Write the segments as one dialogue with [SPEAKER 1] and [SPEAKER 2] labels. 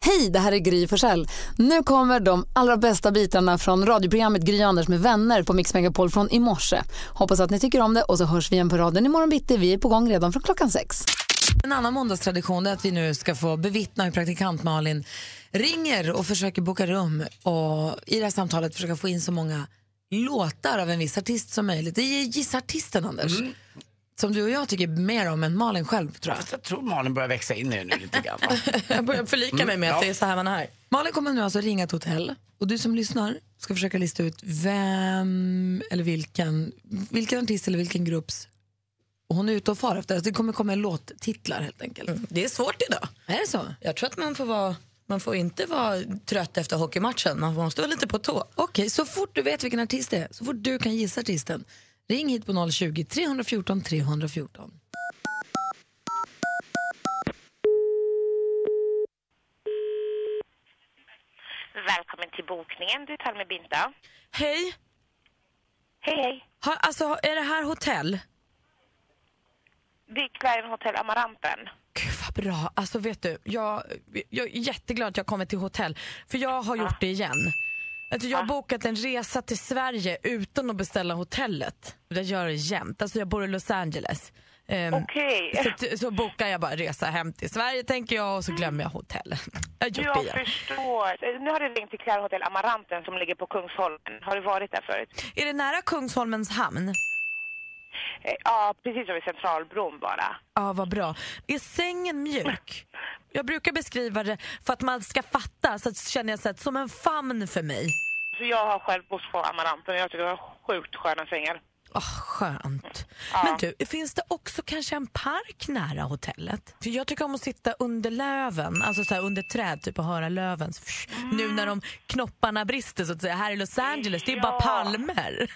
[SPEAKER 1] Hej, det här är Gry Forssell. Nu kommer de allra bästa bitarna från radioprogrammet Gry Anders med vänner på Mix Megapol från i morse. Hoppas att ni tycker om det och så hörs vi igen på raden imorgon bitti. Vi är på gång redan från klockan sex.
[SPEAKER 2] En annan måndagstradition är att vi nu ska få bevittna hur praktikant Malin ringer och försöker boka rum och i det här samtalet försöka få in så många låtar av en viss artist som möjligt. Det är gissartisten Anders. Som du och jag tycker mer om än Malin själv tror jag.
[SPEAKER 3] Fast jag tror Malin börjar växa in i det nu lite grann. va?
[SPEAKER 4] Jag börjar förlika mig med att
[SPEAKER 3] Mm, ja.
[SPEAKER 4] det är så här man är.
[SPEAKER 2] Malin kommer nu alltså ringa ett hotell och du som lyssnar ska försöka lista ut vem eller vilken, vilken artist eller vilken grupps och hon är ute och far efter. Alltså det kommer komma låttitlar helt enkelt.
[SPEAKER 4] Mm, Det är svårt idag.
[SPEAKER 2] Är det så?
[SPEAKER 4] Jag tror att man får vara man får inte vara trött efter hockeymatchen, man måste vara lite på tå.
[SPEAKER 2] Okej, så fort du vet vilken artist det är, så fort du kan gissa artisten, ring hit på 020-314 314.
[SPEAKER 5] Välkommen till bokningen. Du talar med Binta.
[SPEAKER 4] Hej,
[SPEAKER 5] Hej, hej.
[SPEAKER 4] ha, alltså är det här hotell?
[SPEAKER 5] Det är Clarion Hotel Amaranten.
[SPEAKER 4] Gud vad bra, alltså vet du, jag, jag är jätteglad att jag kommit till hotell, för jag har gjort det igen. Alltså, jag har bokat en resa till Sverige utan att beställa hotellet. Jag gör det jämt, alltså jag bor i Los Angeles. Ehm,
[SPEAKER 5] Okej.
[SPEAKER 4] Så, t- så bokar jag bara resa hem till Sverige tänker jag och så glömmer jag hotellet. Jag har gjort det
[SPEAKER 5] Jag
[SPEAKER 4] igen.
[SPEAKER 5] förstår. Eh, Nu har du ringt till Clarion Hotel Amaranten som ligger på Kungsholmen. Har du varit där förut?
[SPEAKER 4] Är det nära Kungsholmens hamn?
[SPEAKER 5] Eh, Ja, precis som vid Centralbron bara.
[SPEAKER 4] Ja, vad bra. Är sängen mjuk? Jag brukar beskriva det för att man ska fatta, så att känner jag så att, som en famn för mig.
[SPEAKER 5] Så jag har själv bott på Amaranten och jag tycker det var sjukt sköna sängar.
[SPEAKER 4] Åh, Ah, skönt. Men du, finns det också kanske en park nära hotellet? För jag tycker om att sitta under löven, alltså så här under träd typ och höra löven. Så, psh,
[SPEAKER 5] Mm.
[SPEAKER 4] Nu när de knopparna brister så att säga. Här i Los Angeles, det är ju bara
[SPEAKER 5] Ja.
[SPEAKER 4] palmer.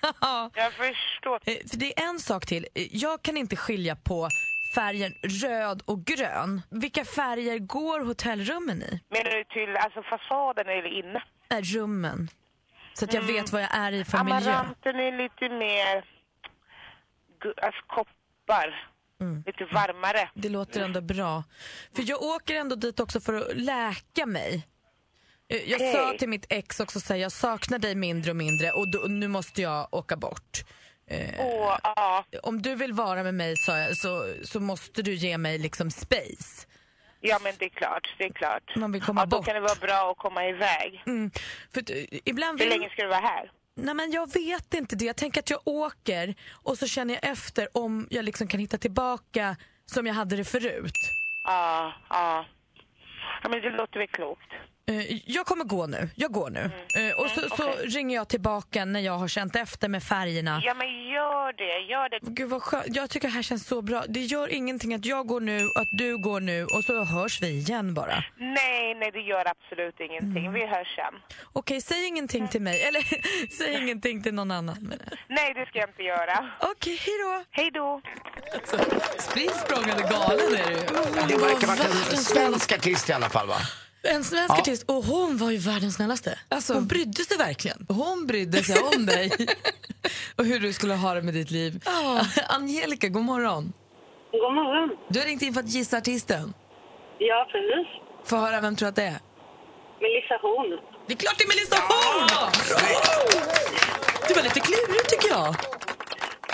[SPEAKER 5] Jag förstår.
[SPEAKER 4] Eh, För det är en sak till. Eh, Jag kan inte skilja på färgen röd och grön. Vilka färger går hotellrummen i?
[SPEAKER 5] Menar du till alltså, fasaden eller inne?
[SPEAKER 4] Äh, rummen. Så att jag
[SPEAKER 5] Mm.
[SPEAKER 4] vet vad jag är i för miljö.
[SPEAKER 5] Amaranten är lite mer... gu- Alltså koppar. Lite varmare.
[SPEAKER 4] Mm. Det låter ändå bra. För jag åker ändå dit också för att läka mig. Eh, Jag sa
[SPEAKER 5] Okej.
[SPEAKER 4] till mitt ex också att jag saknar dig mindre och mindre och då, nu måste jag åka bort. Eh,
[SPEAKER 5] Och, ja,
[SPEAKER 4] Om du vill vara med mig sa jag, så, så måste du ge mig liksom space.
[SPEAKER 5] ja, men det är klart. Det är klart.
[SPEAKER 4] Man vill komma
[SPEAKER 5] ja, då
[SPEAKER 4] bort.
[SPEAKER 5] kan det vara bra att komma iväg.
[SPEAKER 4] Mm. För att, eh, ibland
[SPEAKER 5] Hur
[SPEAKER 4] vill...
[SPEAKER 5] länge ska du vara här?
[SPEAKER 4] Nej men jag vet inte det. Jag tänker att jag åker och så känner jag efter om jag liksom kan hitta tillbaka som jag hade det förut.
[SPEAKER 5] Ja, ja. Ja, men det låter väl klokt.
[SPEAKER 4] Eh, Jag kommer gå nu. Jag går nu. Eh, Och så, så
[SPEAKER 5] Mm. okej.
[SPEAKER 4] ringer jag tillbaka när jag har känt efter med färgerna.
[SPEAKER 5] Ja, men gör det. Gör det.
[SPEAKER 4] Gud vad skönt. Jag tycker det här känns så bra. Det gör ingenting att jag går nu och att du går nu och så hörs vi igen bara.
[SPEAKER 5] Mm. Nej, nej, det gör absolut ingenting. Vi hörs sen.
[SPEAKER 4] Mm. Okej, säg ingenting till mig. Eller säg ingenting till någon annan. menar jag.
[SPEAKER 5] Nej, det ska jag inte göra.
[SPEAKER 4] Okej, hejdå.
[SPEAKER 5] Hej då!
[SPEAKER 2] Spritt språngande galen är det ju.
[SPEAKER 3] Mm, Det verkar vara en
[SPEAKER 4] världens
[SPEAKER 3] svensk artist i alla fall va?
[SPEAKER 4] En svensk
[SPEAKER 3] Ja.
[SPEAKER 4] artist. Och hon var ju världens snällaste.
[SPEAKER 2] Alltså-
[SPEAKER 4] hon brydde sig verkligen.
[SPEAKER 2] Hon brydde sig om dig och hur du skulle ha det med ditt liv.
[SPEAKER 4] Ja.
[SPEAKER 2] Angelica, god morgon.
[SPEAKER 6] God morgon.
[SPEAKER 2] Du har ringt in för att gissa artisten.
[SPEAKER 6] Ja, precis.
[SPEAKER 2] Få höra vem tror att det är.
[SPEAKER 6] Melissa Horn.
[SPEAKER 4] Det är klart det är Melissa Horn! Det var lite klurigt tycker jag.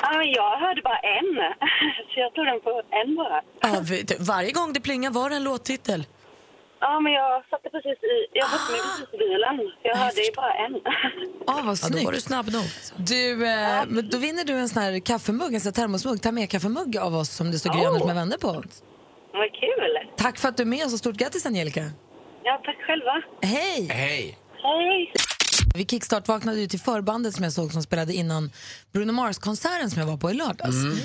[SPEAKER 6] Ah, jag hörde bara en, så jag tog den på en bara.
[SPEAKER 4] Ja, vet du, varje gång det plingar var det en låttitel.
[SPEAKER 6] Ja, men jag satte precis i... Jag satte mig precis i bilen. Jag hörde ju bara en.
[SPEAKER 2] Ah, vad
[SPEAKER 4] Ja, då var du
[SPEAKER 2] snyggt.
[SPEAKER 4] snabb nog. alltså.
[SPEAKER 2] Du, eh, men då vinner du en sån här kaffemugg, en sån här termosmugg. Ta med kaffemugg av oss som det står
[SPEAKER 6] Oh.
[SPEAKER 2] Gry Anders med vänner på.
[SPEAKER 6] Vad kul!
[SPEAKER 2] Tack för att du är med oss och stort grattis Angelica.
[SPEAKER 6] Ja, tack själva.
[SPEAKER 2] Hej!
[SPEAKER 3] Hej.
[SPEAKER 6] Hej!
[SPEAKER 2] Vi kickstart-vaknade ju till förbandet som jag såg som spelade innan Bruno Mars-konserten som jag var på i lördags.
[SPEAKER 3] Mm.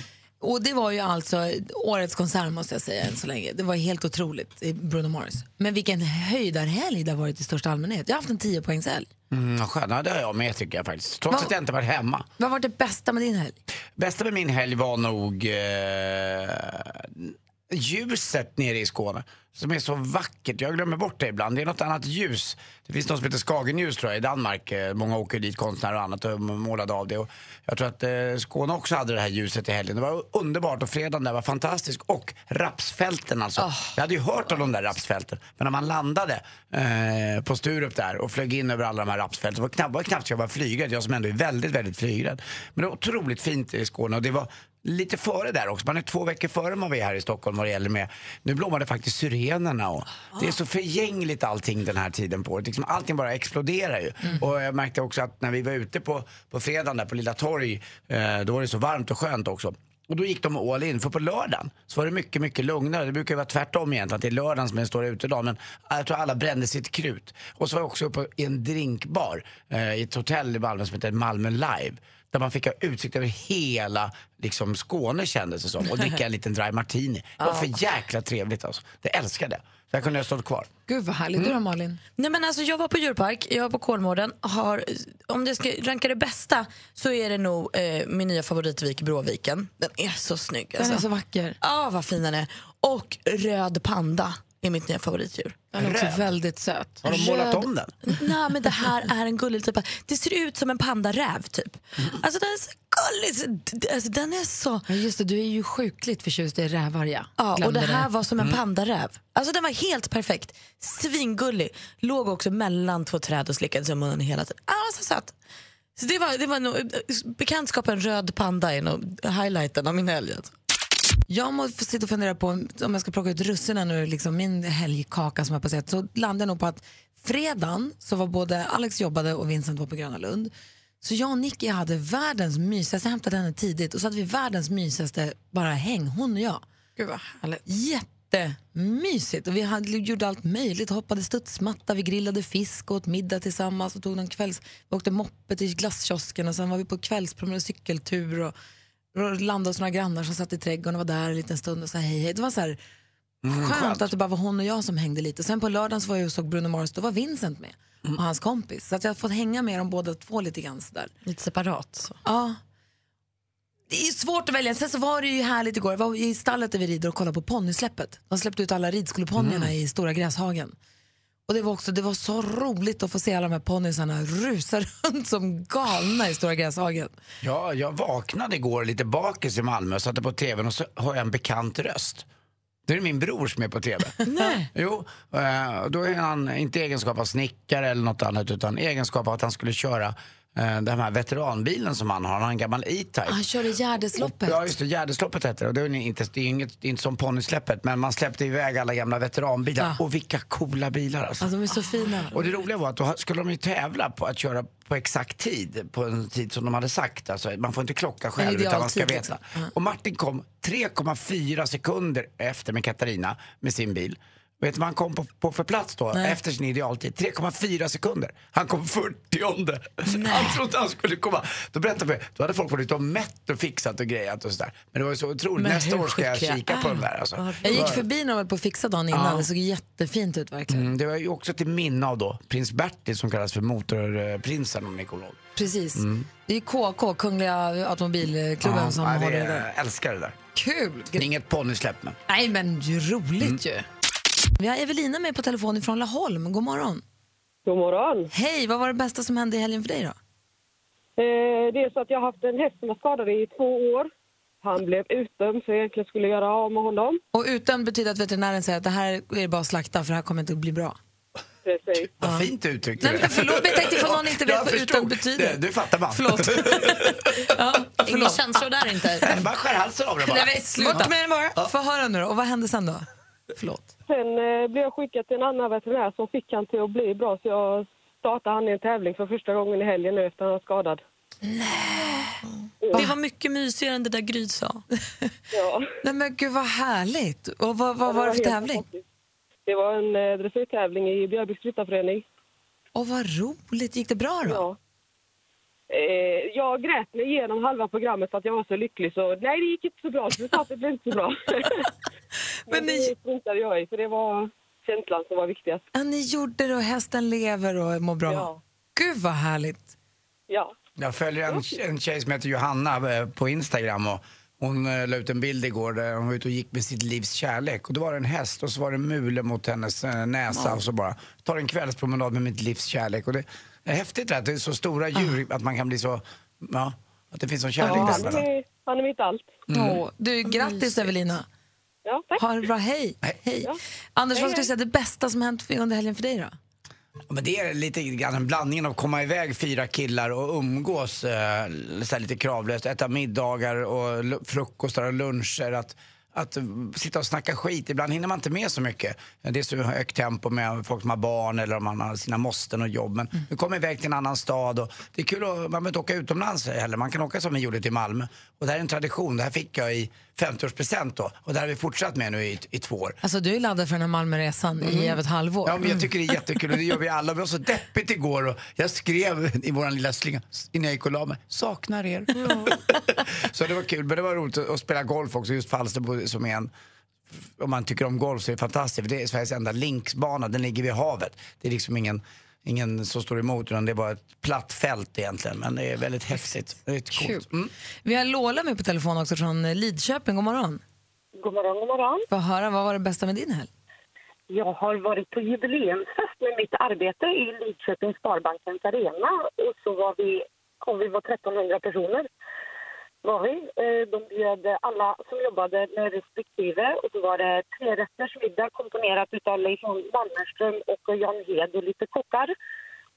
[SPEAKER 2] Och det var ju alltså årets konsert måste jag säga än så länge. Det var helt otroligt, eh, Bruno Mars. Men vilken höjdarhelg det har varit i största allmänhet. Jag har haft en 10-poängshelg.
[SPEAKER 3] Mm, vad skönt, Ja, det har jag med tycker jag faktiskt. Trots
[SPEAKER 2] Va?
[SPEAKER 3] att jag inte varit hemma.
[SPEAKER 2] Vad var det bästa med din helg?
[SPEAKER 3] Bästa med min helg var nog... Eh, ljuset nere i Skåne som är så vackert. Jag glömmer bort det ibland. Det är något annat ljus. Det finns något som heter Skagenljus tror jag i Danmark. Eh, Många åker dit, konstnärer och annat, och målade av det. Och jag tror att eh, Skåne också hade det här ljuset i helgen. Det var underbart och fredagen där var fantastisk. Och rapsfälten alltså. Jag hade ju hört om de där rapsfälten. Men när man landade eh, på Sturup där och flög in över alla de här rapsfälten. Det var knappt, var knappt så jag var flygrädd. Jag som ändå är väldigt, väldigt flygrädd. Men det var otroligt fint i Skåne och det var lite före där också. Man är två veckor före man är här i Stockholm vad det gäller med. Nu blommade faktiskt syrenerna och det är så förgängligt allting den här tiden på året. Liksom allting bara exploderar ju. Och jag märkte också att när vi var ute på, på fredagen där på Lilla Torg, eh, då var det så varmt och skönt också. Och då gick de all in, för på lördagen så var det mycket, mycket lugnare. Det brukar ju vara tvärtom egentligen, att det är lördagen som är den stora utedagen. Men jag tror alla brände sitt krut. Och så var jag också uppe i en drinkbar eh, i ett hotell i Malmö som heter Malmö Live där man fick ha utsikt över hela liksom, Skåne kändes det som och dricka en liten dry martini. Det var för jäkla trevligt alltså. Det älskade jag. Där kunde jag stått kvar.
[SPEAKER 2] Gud vad härligt. Du då Malin?
[SPEAKER 5] Mm. Nej, men alltså, jag var på djurpark, jag var på Kolmården. Har, om jag ska ranka det bästa så är det nog eh, min nya favoritvik Bråviken. Den är så snygg.
[SPEAKER 2] Den
[SPEAKER 5] alltså.
[SPEAKER 2] är så vacker.
[SPEAKER 5] Ja, vad fin den är. Och röd panda är mitt nya favoritdjur.
[SPEAKER 2] Den är också
[SPEAKER 3] Röd.
[SPEAKER 2] väldigt söt.
[SPEAKER 3] Har de målat om den?
[SPEAKER 5] Nej, men det här är en gullig typ. av- Det ser ut som en pandaräv typ.
[SPEAKER 3] Mm.
[SPEAKER 5] Alltså den är så gullig. så- d- Alltså, den är så...
[SPEAKER 2] Ja, just det, du är ju sjukligt förtjust i rävar ja.
[SPEAKER 5] Ja, och
[SPEAKER 2] Glömde Mm.
[SPEAKER 5] det här var som en pandaräv. Alltså den var helt perfekt. Svingullig. Låg också mellan två träd och slickade sig i munnen hela tiden. Alltså söt. Så det var, det var nog, bekantskapen röd panda är nog highlighten av min helg. Alltså.
[SPEAKER 2] Jag måste sitta och fundera på om jag ska plocka ut russinen ur liksom min helgkaka som jag passerat. Så landade jag nog på att fredagen så var både Alex jobbade och Vincent var på Gröna Lund. Så jag och Nicky hade världens mysigaste, jag hämtade henne tidigt och så hade vi världens mysigaste bara häng, hon och jag.
[SPEAKER 5] Gud vad härligt.
[SPEAKER 2] Jättemysigt och vi hade, gjorde allt möjligt, hoppade studsmatta, vi grillade fisk och åt middag tillsammans och tog någon kvälls, vi åkte moppe till glasskiosken och sen var vi på kvällspromenad och cykeltur och, och landade hos några grannar som satt i trädgården och var där en liten stund och sa hej hej. Det var så här
[SPEAKER 4] Mm,
[SPEAKER 6] Mm,
[SPEAKER 2] skönt, att det bara var hon och jag som hängde lite. Sen på lördagen så var jag och såg Bruno Mars, då var Vincent med och hans kompis. Så att jag har fått hänga med dem båda två lite grann sådär.
[SPEAKER 5] Lite separat. Så.
[SPEAKER 2] Ja. Det är ju svårt att välja. Sen så var det ju härligt igår. Jag var i stallet där vi rider och kollar på ponnysläppet. De släppte ut alla ridskoleponnyerna i stora gräshagen. Och det var också det var så roligt att få se alla de här ponnysarna rusa runt som galna i stora gräshagen.
[SPEAKER 3] Ja, jag vaknade igår lite bakis i Malmö, satte på tvn och så hör jag en bekant röst. Det är min bror som är på tv.
[SPEAKER 2] Nej.
[SPEAKER 3] Jo, eh, då är han inte i egenskap av snickare eller något annat utan i egenskap av att han skulle köra eh, den här veteranbilen som han har. Han har en gammal E-Type.
[SPEAKER 2] Ah, Han körde Gärdesloppet.
[SPEAKER 3] Ja, just det. Gärdesloppet heter det. Och det är ju inte, det är inget, det är inte som ponnysläppet, men man släppte iväg alla gamla veteranbilar. Och vilka coola bilar alltså.
[SPEAKER 2] Alltså, de är så fina.
[SPEAKER 3] Och det roliga var att då skulle de ju tävla på att köra på exakt tid, på en tid som de hade sagt. Alltså, man får inte klocka själv utan man ska
[SPEAKER 2] idealtid,
[SPEAKER 3] veta.
[SPEAKER 2] liksom. Ja.
[SPEAKER 3] Mm. Och Martin kom 3,4 sekunder efter med Katarina, med sin bil. Vet du vad han kom på, på för plats då, efter sin idealtid? 3,4 sekunder. Han kom 40 Han trodde han skulle komma. Då berättade vi, då hade folk varit ute och mätt och fixat och grejat och sådär. Men det var ju så otroligt.
[SPEAKER 2] Men
[SPEAKER 3] Nästa
[SPEAKER 2] hur
[SPEAKER 3] år ska jag
[SPEAKER 2] skickliga
[SPEAKER 3] kika på
[SPEAKER 2] är
[SPEAKER 3] den där alltså.
[SPEAKER 2] Jag
[SPEAKER 3] Det
[SPEAKER 2] gick
[SPEAKER 3] var-
[SPEAKER 2] förbi när de höll på att fixa dagen innan.
[SPEAKER 3] Ja.
[SPEAKER 2] Det såg jättefint ut verkligen.
[SPEAKER 3] Mm, Det var ju också till minne av då prins Bertil som kallas för motorprinsen om ni kommer ihåg.
[SPEAKER 2] Precis. Det är KK, Kungliga Automobilklubben,
[SPEAKER 3] Mm. Ja,
[SPEAKER 2] som
[SPEAKER 3] nej,
[SPEAKER 2] har
[SPEAKER 3] det
[SPEAKER 2] det
[SPEAKER 3] är-
[SPEAKER 2] där.
[SPEAKER 3] älskar det där.
[SPEAKER 2] Kul!
[SPEAKER 3] Det är inget ponnysläpp men.
[SPEAKER 2] Nej, men ju roligt
[SPEAKER 3] Mm.
[SPEAKER 2] ju. Vi har Evelina med på telefon från Laholm. God morgon.
[SPEAKER 7] God morgon.
[SPEAKER 2] Hej, vad var det bästa som hände i helgen för dig då?
[SPEAKER 7] Eh, det är så att jag har haft en häst som var skadad i två år. Han blev utdömd så jag egentligen skulle göra av med honom.
[SPEAKER 2] Och utan betyder att veterinären säger att det här är det bara att slakta för det här kommer inte att bli bra.
[SPEAKER 7] Precis.
[SPEAKER 3] Vad fint du uttryckte
[SPEAKER 2] Nej, men förlåt, men jag tänkte ifall någon inte vet
[SPEAKER 3] Jag
[SPEAKER 2] vad
[SPEAKER 3] förstod.
[SPEAKER 2] utan betyder.
[SPEAKER 3] Det- Du fattar man.
[SPEAKER 2] Förlåt. ja,
[SPEAKER 5] Inga
[SPEAKER 2] förlåt.
[SPEAKER 5] känslor där inte.
[SPEAKER 3] Man skär halsen av det bara.
[SPEAKER 2] Nej, men sluta med det bara. Få höra nu då. Och vad hände sen då? Förlåt.
[SPEAKER 7] Sen eh, blev jag skickad till en annan veterinär som fick han till att bli bra så jag startade han i en tävling för första gången i helgen nu efter han var skadad.
[SPEAKER 5] Det var mycket mysigare än det där Gry sa.
[SPEAKER 7] Ja.
[SPEAKER 2] Nej men gud vad härligt. Och vad, vad var det för
[SPEAKER 7] helt
[SPEAKER 2] tävling?
[SPEAKER 7] fantastiskt. Det var en eh, dressyrtävling i Björbyks ryttarförening.
[SPEAKER 2] Och vad roligt. Gick det bra då?
[SPEAKER 7] Ja. Eh, jag grät mig igenom halva programmet för att jag var så lycklig så nej det gick inte så bra, resultatet blev inte så bra.
[SPEAKER 2] Men
[SPEAKER 7] Men
[SPEAKER 2] ni-
[SPEAKER 7] det struntade jag i för det var känslan som var viktigast.
[SPEAKER 2] Ja, ni gjorde det och hästen lever och mår bra.
[SPEAKER 7] Ja.
[SPEAKER 2] Gud vad härligt.
[SPEAKER 7] Ja.
[SPEAKER 3] Jag följer en, en tjej som heter Johanna eh, på Instagram och Hon eh, la ut en bild igår där hon var ute och gick med sitt livs kärlek. Och då var det en häst och så var det en mule mot hennes eh, näsa och så bara, tar en kvällspromenad med mitt livs kärlek. Och det är häftigt det här, att det är så stora djur, att man kan bli så, ja, att det finns sån kärlek
[SPEAKER 2] Ah. Ja.
[SPEAKER 3] där.
[SPEAKER 7] Han
[SPEAKER 3] mellan.
[SPEAKER 7] är, han är mitt allt.
[SPEAKER 2] Åh, du, grattis Evelina.
[SPEAKER 7] Ja, tack.
[SPEAKER 2] Ha det bra, hej. hej. Anders, vad skulle du säga det bästa som hänt under helgen för dig då?
[SPEAKER 3] Ja, Men det är lite grann en blandningen av att komma iväg fyra killar och umgås eh, så här lite kravlöst, äta middagar och lu- frukostar och luncher. Att, att eh, sitta och snacka skit, ibland hinner man inte med så mycket. Det är så högt tempo med folk som har barn eller om man har sina måsten och jobb. Men du kommer iväg till en annan stad och det är kul att, man behöver inte åka utomlands heller. Man kan åka som vi gjorde till Malmö. Och det här är en tradition, det här fick jag i 50-årspresent då. Och det här har vi fortsatt med nu i, i två år.
[SPEAKER 2] Alltså du är laddad för den här Malmöresan i över ett halvår.
[SPEAKER 3] Mm. Ja, men jag tycker det är jättekul och det gör vi alla. Det var så deppigt igår och jag skrev i vår lilla slinga innan jag gick och la mig, saknar er. så det var kul, men det var roligt att att spela golf också, just Falsterbo som är en om man tycker om golf så är det fantastiskt. För det är Sveriges enda linksbana, den ligger vid havet. Det är liksom ingen, ingen som står emot utan det är bara ett platt fält egentligen. Men det är väldigt häftigt. Det är coolt. Mm.
[SPEAKER 2] Vi har Lola med på telefon också från eh, Lidköping. God morgon.
[SPEAKER 6] God morgon, god morgon.
[SPEAKER 2] Få höra, vad var det bästa med din helg?
[SPEAKER 6] Jag har varit på jubileumsfest med mitt arbete i Lidköpings Sparbankens arena. Och så var vi, och vi var 1300 personer. Var vi. Eh, De bjöd alla som jobbade med respektive. Och så var det trerätters middag komponerat utav Leif Mannerström och Jan Hed och lite kockar.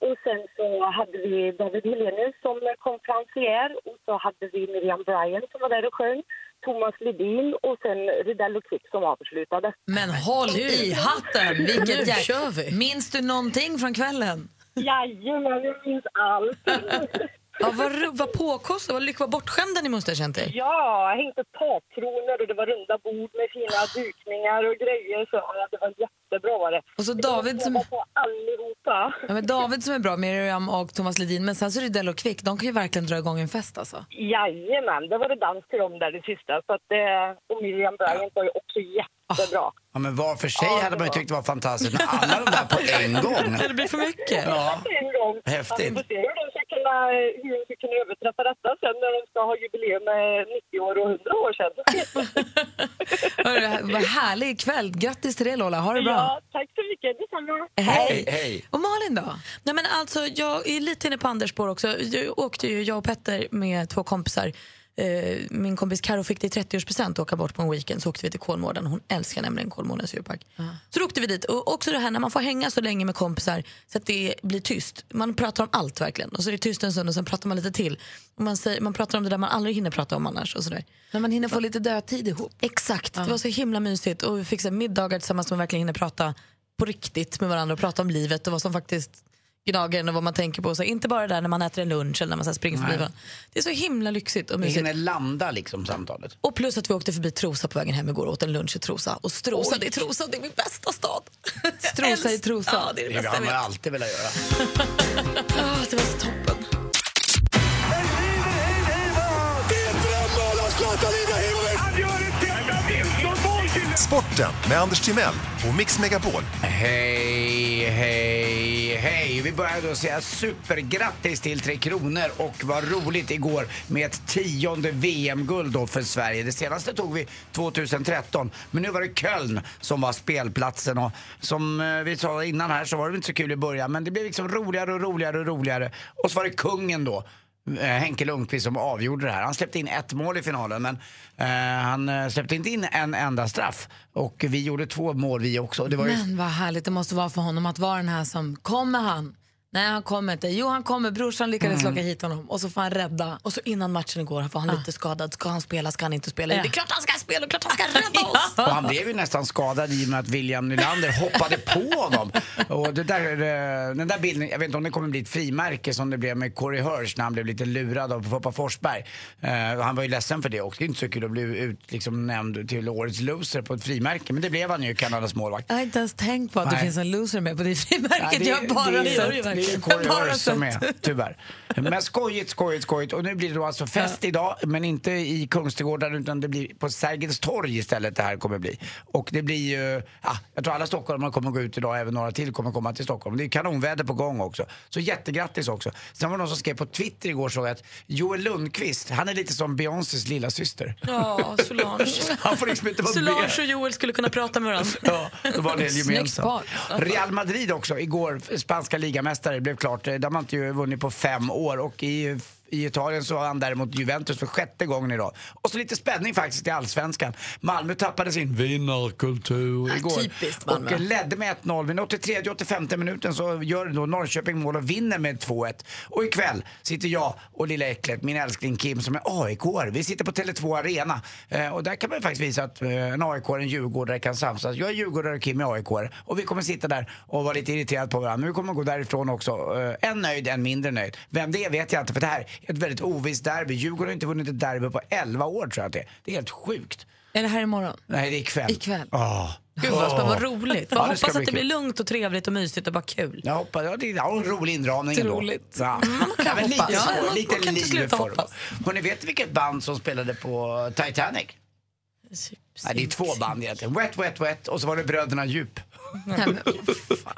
[SPEAKER 6] Och sen så hade vi David Helenius som konferencier och så hade vi Miriam Bryan som var där och sjöng, Thomas Ledin och sen Riddell och Kvick som avslutade.
[SPEAKER 2] Men håll i hatten!
[SPEAKER 5] Nu
[SPEAKER 2] Vilket
[SPEAKER 5] kör vi.
[SPEAKER 2] Minns du någonting från kvällen?
[SPEAKER 6] Jajamän, jag minns allt.
[SPEAKER 5] Ja, vad, ro- vad påkostad, vad lyck, vad bortskämda ni måste ha känt er.
[SPEAKER 6] Ja, jag hängde takkronor och det var runda bord med fina dukningar och grejer. Så ja, det var jättebra var det.
[SPEAKER 2] Och så
[SPEAKER 6] Det var
[SPEAKER 2] David som-
[SPEAKER 6] jobba på allihopa.
[SPEAKER 2] Ja, men David som är bra, Miriam och Thomas Ledin, men sen så är det Dell och Kvick. De kan ju verkligen dra igång en fest alltså.
[SPEAKER 6] Jajamän, det var det dans till dem där det sista. Så att, eh, och Miriam Bryant var ju också jättebra.
[SPEAKER 3] Ja, men var för sig
[SPEAKER 6] Ja, det
[SPEAKER 3] hade man ju
[SPEAKER 6] var-
[SPEAKER 3] tyckt det var fantastiskt, men alla de där på en gång.
[SPEAKER 2] Det blir för mycket.
[SPEAKER 3] Ja.
[SPEAKER 6] En gång.
[SPEAKER 3] Häftigt.
[SPEAKER 6] Ja, vi får se hur de ska kunna, hur de ska kunna överträffa detta sen när de ska ha jubileum med 90 år och 100 år sedan.
[SPEAKER 2] Hörru, vad härlig kväll. Grattis till det Lola, ha det bra.
[SPEAKER 6] Ja, tack så mycket. Detsamma.
[SPEAKER 2] Hej.
[SPEAKER 3] hej.
[SPEAKER 2] Och Malin då?
[SPEAKER 4] Nej, men alltså, jag är lite inne på Anders spår också. Jag åkte ju, jag och Petter med två kompisar. Eh, min kompis Karo fick det i 30-årspresent att åka bort på en weekend. Så åkte vi till Kolmården. Hon älskar nämligen Kolmårdens djurpark. Så då åkte vi dit. Och också det här när man får hänga så länge med kompisar så att det blir tyst. Man pratar om allt verkligen. Och så är det tyst en stund och sen pratar man lite till. Och man, säger, man pratar om det där man aldrig hinner prata om annars. Och sådär.
[SPEAKER 2] När man hinner få lite dödtid ihop.
[SPEAKER 4] Exakt, det var så himla mysigt. Och vi fick så här middagar tillsammans som man verkligen hinner prata på riktigt med varandra och prata om livet och vad som faktiskt gnager en och vad man tänker på. Så inte bara det där när man äter en lunch eller när man så här springer förbi varandra. Det är så himla lyxigt och
[SPEAKER 3] Vi
[SPEAKER 4] mysigt.
[SPEAKER 3] hinner landa liksom samtalet.
[SPEAKER 4] Och plus att vi åkte förbi Trosa på vägen hem igår och åt en lunch i Trosa. Och strosade i Trosa, det är min bästa stad.
[SPEAKER 2] Strosa i Trosa.
[SPEAKER 4] Ja, det är det
[SPEAKER 3] Det
[SPEAKER 4] bästa
[SPEAKER 3] har
[SPEAKER 4] jag
[SPEAKER 3] man
[SPEAKER 4] vet.
[SPEAKER 3] alltid velat göra.
[SPEAKER 4] Ah, det var så toppen.
[SPEAKER 8] Sporten med Anders Timell och Mix Megapol.
[SPEAKER 3] Hej, hej, hej. Vi börjar då säga supergrattis till Tre Kronor och vad roligt igår med ett tionde VM-guld då för Sverige. Det senaste tog vi 2013, men nu var det Köln som var spelplatsen och som eh, vi sa innan här så var det inte så kul i början, men det blev liksom roligare och roligare och roligare. Och så var det kungen då. eh, Henke Lundqvist som avgjorde det här. Han släppte in ett mål i finalen men eh, han eh, släppte inte in en enda straff. Och vi gjorde två mål vi också. Och Det var ju
[SPEAKER 2] Men vad härligt det måste vara för honom att vara den här som, kommer han? Nej han kommer inte. Jo han kommer, brorsan lyckades
[SPEAKER 3] Mm.
[SPEAKER 2] locka hit honom och så får han rädda.
[SPEAKER 4] Och så innan matchen igår var han lite skadad. Ska han spela, ska han inte spela?
[SPEAKER 2] Ja.
[SPEAKER 4] Det är klart han ska spela, och klart han ska rädda oss!
[SPEAKER 3] Och han blev ju nästan skadad i och med att William Nylander hoppade på honom. Och det där, eh, den där bilden, jag vet inte om det kommer bli ett frimärke som det blev med Corey Hirsch när han blev lite lurad av Pappa Forsberg. Eh, han var ju ledsen för det också. Det är inte så kul att bli ut, liksom, nämnd till årets loser på ett frimärke. Men det blev han ju, Kanadas målvakt.
[SPEAKER 2] Jag har inte ens tänkt på att det
[SPEAKER 3] Nej.
[SPEAKER 2] finns en loser med på det frimärket.
[SPEAKER 3] Ja, det-
[SPEAKER 2] jag har bara
[SPEAKER 3] det är-
[SPEAKER 2] sett.
[SPEAKER 3] det är ju
[SPEAKER 4] Bara
[SPEAKER 3] korridor
[SPEAKER 4] sött.
[SPEAKER 3] som är, tyvärr. Men skojigt, skojigt, skojigt. Och nu blir det då alltså fest idag, men inte i Kungsträdgården utan det blir på Sergels torg istället det här kommer bli. Och det blir ju, ja, jag tror alla stockholmare kommer gå ut idag, även några till kommer komma till Stockholm. Det är kanonväder på gång också. Så jättegrattis också. Sen var det någon som skrev på Twitter igår såg jag att Joel Lundqvist, han är lite som Beyoncés lilla syster.
[SPEAKER 4] Ja, Solange.
[SPEAKER 3] Han får liksom inte vara med.
[SPEAKER 4] Solange och Joel skulle kunna prata med varandra.
[SPEAKER 3] Ja, då var det en
[SPEAKER 1] Snyggt
[SPEAKER 3] gemensam.
[SPEAKER 1] par.
[SPEAKER 3] Real Madrid också, igår, spanska ligamästare, blev klart. Eh, De har inte ju vunnit på fem år och i, i Italien så vann däremot Juventus för sjätte gången idag. Och så lite spänning faktiskt i allsvenskan. Malmö tappade sin vinnarkultur igår.
[SPEAKER 4] typiskt Malmö.
[SPEAKER 3] Och eh, ledde med 1-0, men 83 85 minuten så gör då Norrköping mål och vinner med 2-1. Och ikväll sitter jag och lilla äcklet, min älskling Kim som är aik Vi sitter på Tele2 Arena eh, och där kan man ju faktiskt visa att eh, en aik en djurgårdare kan samsas. Jag är djurgårdare och Kim är aik och vi kommer sitta där och vara lite irriterade på varandra. Men vi kommer gå därifrån också, eh, en nöjd, en mindre nöjd. Vem det är vet jag inte för det här är ett väldigt ovisst derby. Djurgården har inte vunnit ett derby på 11 år tror jag att det är. Det är helt sjukt.
[SPEAKER 2] Är det här imorgon?
[SPEAKER 3] Nej, det är ikväll.
[SPEAKER 2] Ikväll.
[SPEAKER 3] Ah.
[SPEAKER 4] Gud vad spännande, vad roligt. Vad
[SPEAKER 3] Ja, det
[SPEAKER 4] hoppas
[SPEAKER 3] ska
[SPEAKER 4] att
[SPEAKER 3] bli
[SPEAKER 4] det blir
[SPEAKER 3] kul.
[SPEAKER 4] lugnt och trevligt och mysigt och bara kul.
[SPEAKER 3] Jag hoppas, ja, det är ja, en rolig inramning
[SPEAKER 4] Otroligt.
[SPEAKER 3] ändå. Ja. Ja, men lite
[SPEAKER 4] hoppas. Ja,
[SPEAKER 3] så,
[SPEAKER 4] man-
[SPEAKER 3] lite
[SPEAKER 4] man kan inte
[SPEAKER 3] livlig
[SPEAKER 4] sluta
[SPEAKER 3] form.
[SPEAKER 4] hoppas.
[SPEAKER 3] Hörrni, vet ni vilket band som spelade på Titanic? Nej, det är två band egentligen. Wet, Wet, Wet och så var det Bröderna Djup.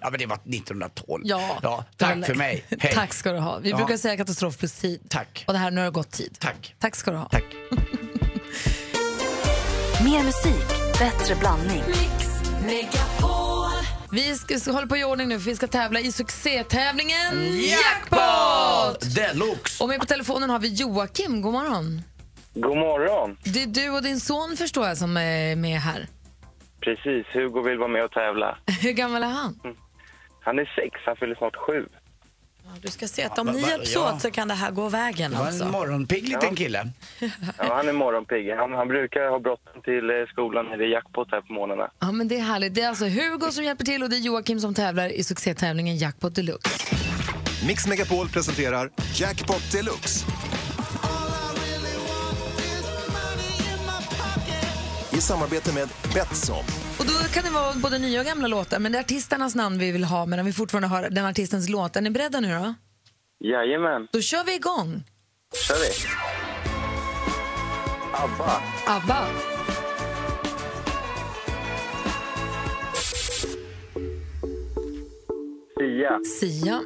[SPEAKER 3] Ja, men det var 1912.
[SPEAKER 2] Ja.
[SPEAKER 3] tack för mig. Hej.
[SPEAKER 2] Tack ska du ha. Vi
[SPEAKER 3] Ja.
[SPEAKER 2] brukar säga katastrof plus tid.
[SPEAKER 3] Tack.
[SPEAKER 2] Och det här, nu har det gått tid.
[SPEAKER 3] Tack.
[SPEAKER 2] Tack ska du ha.
[SPEAKER 3] Tack.
[SPEAKER 9] Mer musik, bättre blandning.
[SPEAKER 2] Vi ska, så håller på i ordning nu för vi ska tävla i succétävlingen
[SPEAKER 3] Deluxe!
[SPEAKER 2] Och med på telefonen har vi Joakim. God morgon.
[SPEAKER 10] God morgon.
[SPEAKER 2] Det är du och din son förstår jag som är med här.
[SPEAKER 10] Precis, Hugo vill vara med och tävla.
[SPEAKER 2] Hur gammal är han?
[SPEAKER 10] Han är sex, han fyller snart sju.
[SPEAKER 4] Ja, Du ska se att om
[SPEAKER 3] Ja,
[SPEAKER 4] ni
[SPEAKER 3] va- va-
[SPEAKER 4] hjälps
[SPEAKER 3] ja.
[SPEAKER 4] åt så kan det här gå vägen
[SPEAKER 3] Det var en
[SPEAKER 4] alltså.
[SPEAKER 3] morgonpigg liten kille.
[SPEAKER 10] Ja, han är morgonpigg. Han, han brukar ha bråttom till eh, skolan när det är jackpot här på morgnarna.
[SPEAKER 2] Ja, men det är härligt. Det är alltså Hugo som hjälper till och det är Joakim som tävlar i succétävlingen Jackpot Deluxe.
[SPEAKER 8] Mix Megapol presenterar Jackpot Deluxe. I samarbete med Betsson.
[SPEAKER 2] Och då kan det vara både nya och gamla låtar, men det är artisternas namn vi vill ha medan vi fortfarande har den artistens låt. Är ni beredda nu då?
[SPEAKER 10] Jajamän,
[SPEAKER 2] Då kör vi igång.
[SPEAKER 10] kör vi. Abba,
[SPEAKER 2] ABBA.
[SPEAKER 10] Sia,
[SPEAKER 2] Sia.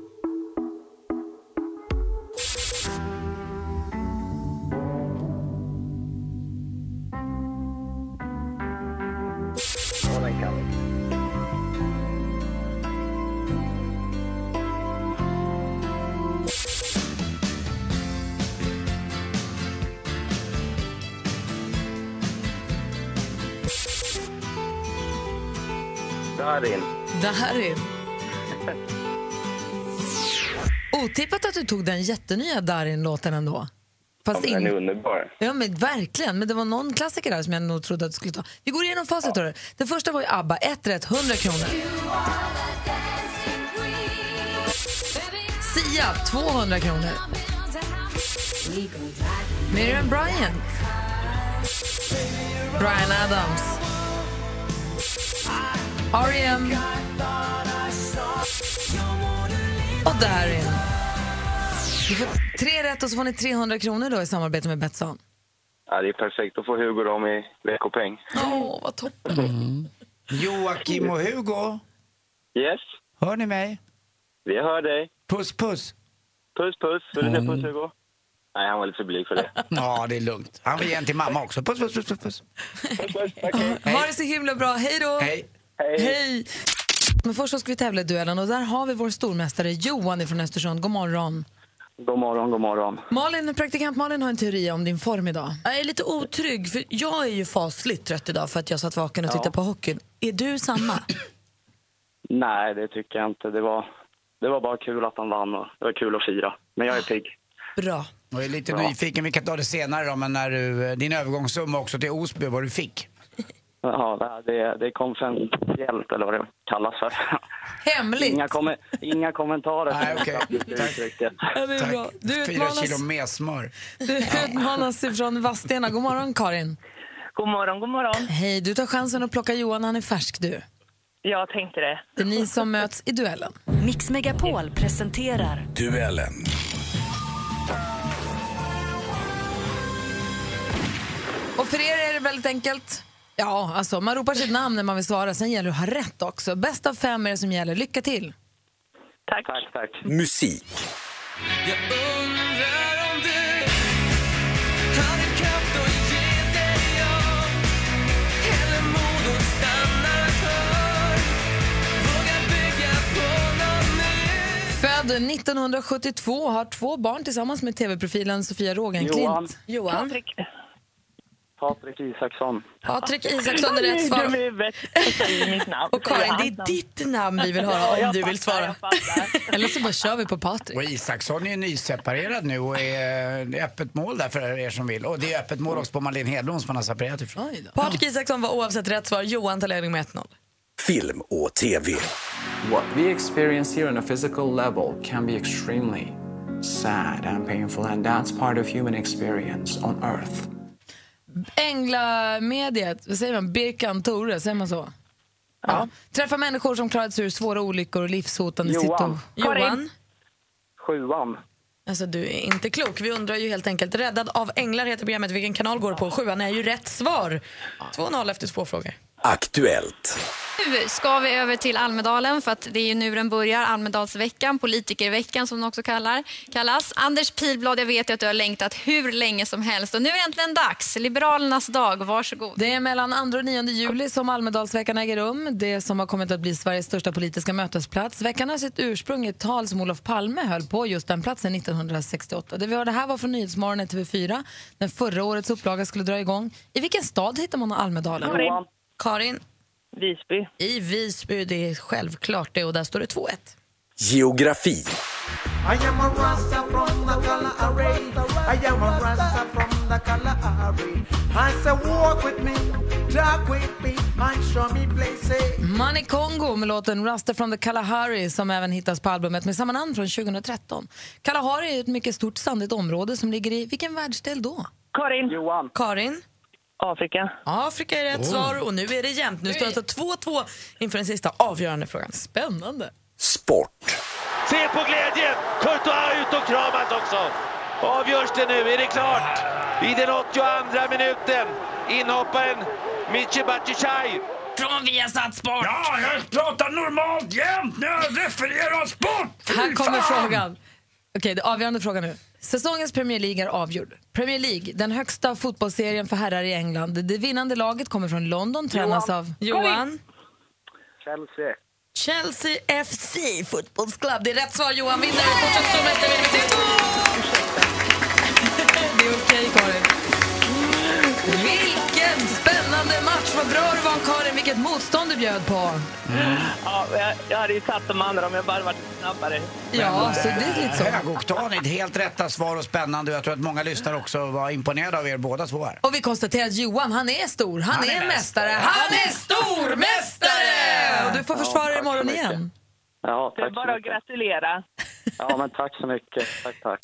[SPEAKER 10] Darin.
[SPEAKER 2] Darin. Otippat att du tog den jättenya Darin-låten ändå.
[SPEAKER 10] Ja,
[SPEAKER 2] Fast
[SPEAKER 10] men Den är
[SPEAKER 2] in...
[SPEAKER 10] underbar.
[SPEAKER 2] Ja, men verkligen. Men det var någon klassiker där som jag nog trodde att du skulle ta. Vi går igenom facit. Ja. Den första var ju ABBA. Ett rätt, 100 kronor. Sia, 200 kronor. Miriam Bryant. Bryan Adams. E R.E.M. Och Darin. Du får tre rätt och så får ni 300 kronor då i samarbete med Betsson.
[SPEAKER 10] Ja, det är perfekt. Då får Hugo dem i veckopeng.
[SPEAKER 4] Åh, vad toppen.
[SPEAKER 3] Joakim och Hugo,
[SPEAKER 10] Yes,
[SPEAKER 3] hör ni mig?
[SPEAKER 10] vi hör dig.
[SPEAKER 3] Puss, puss.
[SPEAKER 10] Puss, puss. Vill du säga puss, Hugo? Nej, han var lite för blyg för det.
[SPEAKER 3] Ja, det är lugnt. Han vill ge en till mamma också. Puss, puss, puss, puss. puss.
[SPEAKER 10] Puss, puss. Okej.
[SPEAKER 2] Ha det så himla bra. Hej då!
[SPEAKER 3] Mm. Hej.
[SPEAKER 10] Hej.
[SPEAKER 2] Hej. Men först så ska vi tävla i duellen och där har vi vår stormästare Johan från Östersund. God morgon.
[SPEAKER 10] God morgon, god morgon.
[SPEAKER 2] Malin, praktikant Malin har en teori om din form idag.
[SPEAKER 4] Jag är lite otrygg, för jag är ju fasligt trött idag för att jag satt vaken och tittade på hockeyn. Är du samma?
[SPEAKER 10] Nej, det tycker jag inte. Det var, det var bara kul att han vann och det var kul att fira. Men jag är pigg.
[SPEAKER 4] Bra.
[SPEAKER 3] Jag är lite nyfiken, vi kan ta det senare då, men när du, eh, din övergångssumma också till Osby, vad du fick.
[SPEAKER 10] Ja, det här- det, det är konfidentiellt, eller vad det kallas för.
[SPEAKER 2] Hemligt!
[SPEAKER 10] Inga, kommer, inga kommentarer.
[SPEAKER 3] Nej, okej. Tack.
[SPEAKER 10] Uttrycket.
[SPEAKER 2] Ja, det är bra. Du
[SPEAKER 3] Fyra
[SPEAKER 2] utmanas,
[SPEAKER 3] kilo med smör.
[SPEAKER 2] du utmanas ifrån Vadstena. God morgon Karin.
[SPEAKER 6] God morgon, god morgon.
[SPEAKER 2] Hej, du tar chansen att plocka Johan, han är färsk du.
[SPEAKER 11] Jag tänkte det.
[SPEAKER 2] Det är ni som möts i duellen.
[SPEAKER 9] Mix Megapol presenterar
[SPEAKER 12] Duellen.
[SPEAKER 2] Och för er är det väldigt enkelt. Ja, alltså man ropar sitt namn när man vill svara. Sen gäller det att ha rätt också. Bäst av fem är det som gäller. Lycka till!
[SPEAKER 11] Tack. Tack, tack.
[SPEAKER 12] Musik.
[SPEAKER 2] Född 1972 har två barn tillsammans med tv-profilen Sofia
[SPEAKER 10] Johan.
[SPEAKER 2] Rogenklint. Johan.
[SPEAKER 10] Patrik Isaksson.
[SPEAKER 2] Patrik Isaksson är rätt svar.
[SPEAKER 4] Och Karin, det är ditt namn vi vill höra om
[SPEAKER 3] Ja, jag
[SPEAKER 4] du vill
[SPEAKER 3] fattar,
[SPEAKER 4] svara.
[SPEAKER 2] Eller så bara kör vi på Patrik.
[SPEAKER 3] Och Isaksson är ju nyseparerad nu och är, det är öppet mål där för er som vill. Och det är öppet mål också på Malin Hedlund som man har separerat ifrån.
[SPEAKER 4] Patrik Isaksson var oavsett rätt svar. Johan tar ledning med 1-0.
[SPEAKER 12] Film och TV.
[SPEAKER 13] What we experience here on a physical level can be extremely sad and painful, and that's part of human experience on Earth.
[SPEAKER 2] Änglamediet, vad säger man? Birkan Tore, säger man så? Ja. Träffa människor som klarat sig ur svåra olyckor och livshotande
[SPEAKER 10] Johan.
[SPEAKER 2] situation.
[SPEAKER 4] Johan.
[SPEAKER 10] Sjuan.
[SPEAKER 4] Alltså du är inte klok. Vi undrar ju helt enkelt. Räddad av änglar heter programmet. Vilken kanal går det på? Sjuan är ju rätt svar. 2-0 efter två frågor.
[SPEAKER 12] Aktuellt.
[SPEAKER 14] Nu ska vi över till Almedalen för att det är ju nu den börjar, Almedalsveckan, politikerveckan som den också kallar, kallas. Anders Pilblad, jag vet ju att du har längtat hur länge som helst och nu är det äntligen dags. Liberalernas dag, varsågod.
[SPEAKER 2] Det är mellan 2 och 9 juli som Almedalsveckan äger rum. Det som har kommit att bli Sveriges största politiska mötesplats. Veckan har sitt ursprung i ett tal som Olof Palme höll på just den platsen 1968. Det vi hörde här var från Nyhetsmorgon i TV4 när förra årets upplaga skulle dra igång. I vilken stad hittar man Almedalen?
[SPEAKER 4] Karin. Karin.
[SPEAKER 11] Visby.
[SPEAKER 4] I Visby, det är självklart det. Och där står det 2-1.
[SPEAKER 12] Geografi.
[SPEAKER 15] I am a Rasta from the Kalahari. I am a Rasta from the Kalahari. I say, walk with me, talk with me, and show me places.
[SPEAKER 2] Money Kongo med låten Rasta from the Kalahari som även hittas på albumet med samma namn från 2013. Kalahari är ett mycket stort sandigt område som ligger i vilken världsdel då?
[SPEAKER 11] Karin.
[SPEAKER 10] Johan.
[SPEAKER 4] Karin.
[SPEAKER 11] Afrika.
[SPEAKER 4] Afrika är rätt
[SPEAKER 2] Oh.
[SPEAKER 4] svar och nu är det jämnt. Nu står det alltså 2-2 inför den sista avgörande frågan. Spännande.
[SPEAKER 12] Sport.
[SPEAKER 16] Se på glädjen! Courtois har ut och kramat också. Avgörs det nu är det klart. I den 82 minuten inhopparen Miche Batshuayi.
[SPEAKER 4] Från Viasat Sport.
[SPEAKER 3] Ja, jag pratar normalt jämt när jag refererar sport! Fy
[SPEAKER 2] Här kommer
[SPEAKER 3] fan!
[SPEAKER 2] frågan. Okej, det är avgörande frågan nu. Säsongens Premier League är avgjord. Premier League, den högsta fotbollsserien för herrar i England. Det vinnande laget kommer från London, tränas av...
[SPEAKER 4] Johan.
[SPEAKER 10] Chelsea.
[SPEAKER 4] Chelsea FC fotbollsklubb. Det är rätt svar. Johan vinner. Fortsatt stormästare vinner med 3-2. Det är okej, Karin.
[SPEAKER 2] Vilken spännande match! Vad bra du var, Karin. Vilket motstånd du bjöd på.
[SPEAKER 11] Ja, jag, jag hade ju satt de andra om jag bara varit snabbare.
[SPEAKER 2] Ja, så det är lite så.
[SPEAKER 3] Högoktanigt, helt rätta svar och spännande. Och Jag tror att många lyssnare också var imponerade av er båda två här.
[SPEAKER 2] Och vi konstaterar att Johan, han är stor. Han, är, mästare. Han är stormästare! Och du får
[SPEAKER 10] Ja,
[SPEAKER 2] försvara dig
[SPEAKER 10] tack så
[SPEAKER 2] imorgon
[SPEAKER 10] mycket.
[SPEAKER 2] igen.
[SPEAKER 10] Ja,
[SPEAKER 11] Det är
[SPEAKER 10] tack så
[SPEAKER 11] bara att
[SPEAKER 10] mycket.
[SPEAKER 11] gratulera.
[SPEAKER 10] Ja, men tack så mycket. Tack, tack.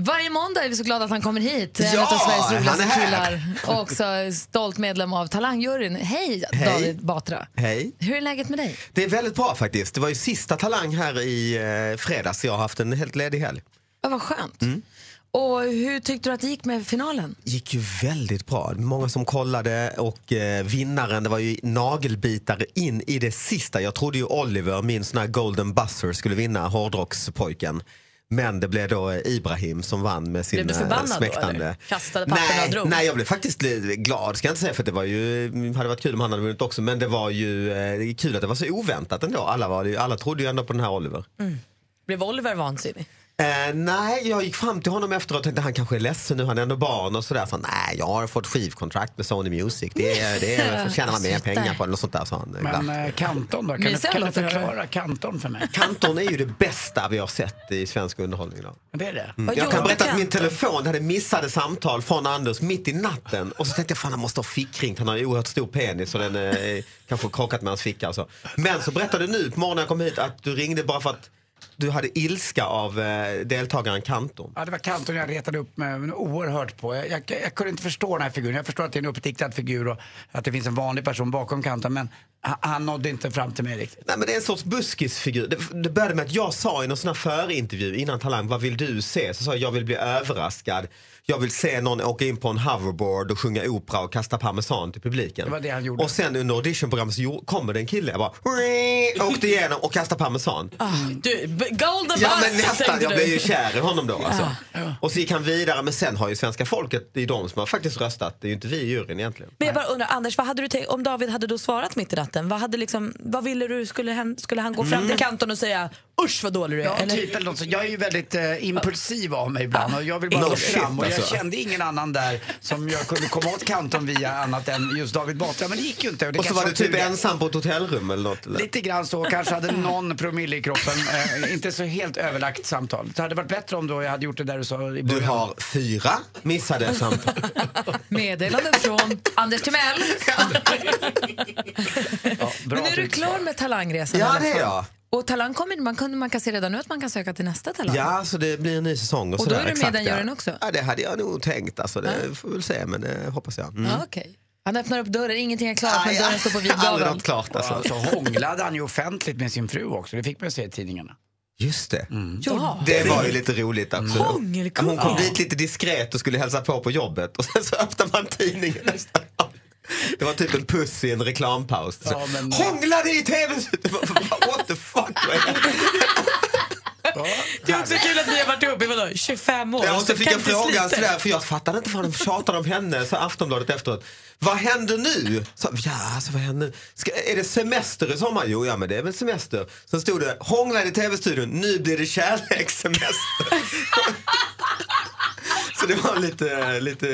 [SPEAKER 2] Varje måndag är vi så glada att han kommer hit.
[SPEAKER 10] Ja,
[SPEAKER 2] en av Sveriges
[SPEAKER 10] han är
[SPEAKER 2] roligaste
[SPEAKER 10] här.
[SPEAKER 2] killar. Och också stolt medlem av Talangjuryn. Hej,
[SPEAKER 17] Hej.
[SPEAKER 2] David Batra.
[SPEAKER 17] Hej.
[SPEAKER 2] Hur är läget med dig?
[SPEAKER 17] Det är väldigt bra faktiskt. Det var ju sista Talang här i eh, fredags. Jag har haft en helt ledig helg.
[SPEAKER 2] Ja, vad skönt.
[SPEAKER 17] Mm.
[SPEAKER 2] Och hur tyckte du att det gick med finalen?
[SPEAKER 17] gick ju väldigt bra. Många som kollade och eh, vinnaren, det var ju nagelbitare in i det sista. Jag trodde ju Oliver, min sån här golden buzzer, skulle vinna, hårdrockspojken. Men det blev då eh, Ibrahim som vann med sin
[SPEAKER 4] Blev du
[SPEAKER 17] eh,
[SPEAKER 4] förbannad då
[SPEAKER 17] smäktande...
[SPEAKER 4] eller? Kastade papperna och
[SPEAKER 17] Nej,
[SPEAKER 4] drog?
[SPEAKER 17] nej, jag blev faktiskt li- glad ska jag inte säga för att det var ju, hade varit kul om han hade vunnit också men det var ju eh, kul att det var så oväntat ändå. Alla, var, alla trodde ju ändå på den här Oliver.
[SPEAKER 4] Mm. Blev Oliver vansinnig?
[SPEAKER 17] Eh, nej, jag gick fram till honom efteråt och tänkte han kanske är ledsen nu, han är ändå barn och sådär. Så han, nej, jag har fått skivkontrakt med Sony Music, det, är- det är- tjänar man mer
[SPEAKER 3] Sluta.
[SPEAKER 17] pengar på eller något sånt där. Så han,
[SPEAKER 3] Men eh, Kanton då? Kan du,
[SPEAKER 17] Mysiga
[SPEAKER 3] kan du
[SPEAKER 17] låtar har du.
[SPEAKER 3] förklara Kanton för mig?
[SPEAKER 17] Kanton är ju det bästa vi har sett i svensk underhållning idag.
[SPEAKER 3] Det är det?
[SPEAKER 17] Mm. Jag kan berätta att min telefon hade missade samtal från Anders mitt i natten och så tänkte jag fan han måste ha fickringt, han har ju oerhört stor penis och den eh, kanske krockat med hans ficka och så. Men så berättade du nu på morgonen när jag kom hit att du ringde bara för att du hade ilska av eh, deltagaren Kanton.
[SPEAKER 3] Ja, det var Kanton jag retade upp mig men oerhört på. Jag, jag, jag kunde inte förstå den här figuren. Jag förstår att det är en uppdiktad figur och att det finns en vanlig person bakom Kanton, men han, han nådde inte fram till mig riktigt.
[SPEAKER 17] Nej, men det är en sorts buskisfigur. Det, det började med att jag sa i någon sån här förintervju innan Talang, vad vill du se? Så sa jag, jag vill bli överraskad. Jag vill se någon åka in på en hoverboard och sjunga opera och kasta parmesan till publiken.
[SPEAKER 3] Det var det han gjorde.
[SPEAKER 17] Och sen under auditionprogrammet så gjorde- kommer det en kille, jag bara, "Wee!" åkte igenom och kastade parmesan.
[SPEAKER 4] Ah,
[SPEAKER 5] Du, b- golden
[SPEAKER 17] Ja
[SPEAKER 5] bus,
[SPEAKER 17] men nästan,
[SPEAKER 5] tänkte
[SPEAKER 17] jag
[SPEAKER 5] du.
[SPEAKER 17] blev ju kär i honom då alltså.
[SPEAKER 5] Ja.
[SPEAKER 17] Och så gick han vidare men sen har ju svenska folket, det är de som har faktiskt röstat, det är ju inte vi i juryn egentligen.
[SPEAKER 4] Men jag bara undrar, Anders, vad hade du tänkt, om David hade då svarat mitt i ratten, vad, hade liksom, vad ville du, skulle han, skulle han gå fram
[SPEAKER 3] Mm.
[SPEAKER 4] till kanten och säga usch vad dålig du är?
[SPEAKER 3] Ja,
[SPEAKER 4] eller?
[SPEAKER 3] typ eller något sånt. Jag är ju väldigt eh, impulsiv av mig ibland och jag vill bara
[SPEAKER 17] No
[SPEAKER 3] gå
[SPEAKER 17] shit,
[SPEAKER 3] fram. Och jag
[SPEAKER 17] alltså.
[SPEAKER 3] kände ingen annan där som jag kunde komma åt Kanton via annat än just David Batra, men det gick ju inte.
[SPEAKER 17] Och så
[SPEAKER 3] kanske
[SPEAKER 17] var du typ
[SPEAKER 3] tur det.
[SPEAKER 17] ensam på ett hotellrum eller något? Eller?
[SPEAKER 3] Lite grann så, kanske hade någon promille i kroppen. Eh, inte så helt överlagt samtal. Det hade varit bättre om då jag hade gjort det där du sa i början.
[SPEAKER 17] Du har fyra missade samtal.
[SPEAKER 2] Meddelanden från Anders Timell.
[SPEAKER 5] Men nu är du klar med talangresan i
[SPEAKER 17] Ja
[SPEAKER 5] alla
[SPEAKER 17] det är
[SPEAKER 5] fall.
[SPEAKER 17] jag.
[SPEAKER 2] Och talang kommer, man, kunde, man kan se redan nu att man kan söka till nästa talang.
[SPEAKER 17] Ja, så det blir en ny säsong och,
[SPEAKER 2] Och då
[SPEAKER 17] sådär.
[SPEAKER 2] är du med i
[SPEAKER 17] exakt,
[SPEAKER 2] den
[SPEAKER 17] ja.
[SPEAKER 2] juryn också?
[SPEAKER 17] Ja, det hade jag nog tänkt. Alltså, det får vi väl se, men det hoppas jag. Mm.
[SPEAKER 2] Ja, Okej. Han öppnar upp dörren, ingenting är klart men
[SPEAKER 17] Aj,
[SPEAKER 2] dörren
[SPEAKER 17] aj.
[SPEAKER 2] står på vid
[SPEAKER 17] Aldrig
[SPEAKER 2] gavel.
[SPEAKER 17] något klart
[SPEAKER 3] Alltså.
[SPEAKER 17] alltså.
[SPEAKER 3] hånglade han ju offentligt med sin fru också. Det fick man ju se i tidningarna. Mm.
[SPEAKER 17] Just det.
[SPEAKER 2] Ja.
[SPEAKER 17] Det var ju lite roligt absolut.
[SPEAKER 2] Hångelkung.
[SPEAKER 17] Hon kom
[SPEAKER 2] Ja.
[SPEAKER 17] dit lite diskret och skulle hälsa på på jobbet och sen så öppnade man tidningen nästa dag. Det var typ en puss i en reklampaus. Så,
[SPEAKER 3] Ja, men-
[SPEAKER 17] Hånglade i tv! Det var- What the fuck? vad är det?
[SPEAKER 4] Det är också kul att ni har varit ihop i vadå, 25 år? Alltså,
[SPEAKER 17] Ja, och så
[SPEAKER 3] Alltså,
[SPEAKER 17] fick
[SPEAKER 4] Kan
[SPEAKER 17] jag
[SPEAKER 4] inte
[SPEAKER 17] frågan
[SPEAKER 4] slita er.
[SPEAKER 17] sådär, för jag fattade inte vad de tjatade om henne. Så Aftonbladet efteråt. Vad händer nu? Så, ja, alltså, vad händer? Ska, är det semester i sommar? Jo, ja men det är väl semester. Sen stod det, hånglade i tv-studion, nu blir det kärlekssemester. så det var lite, lite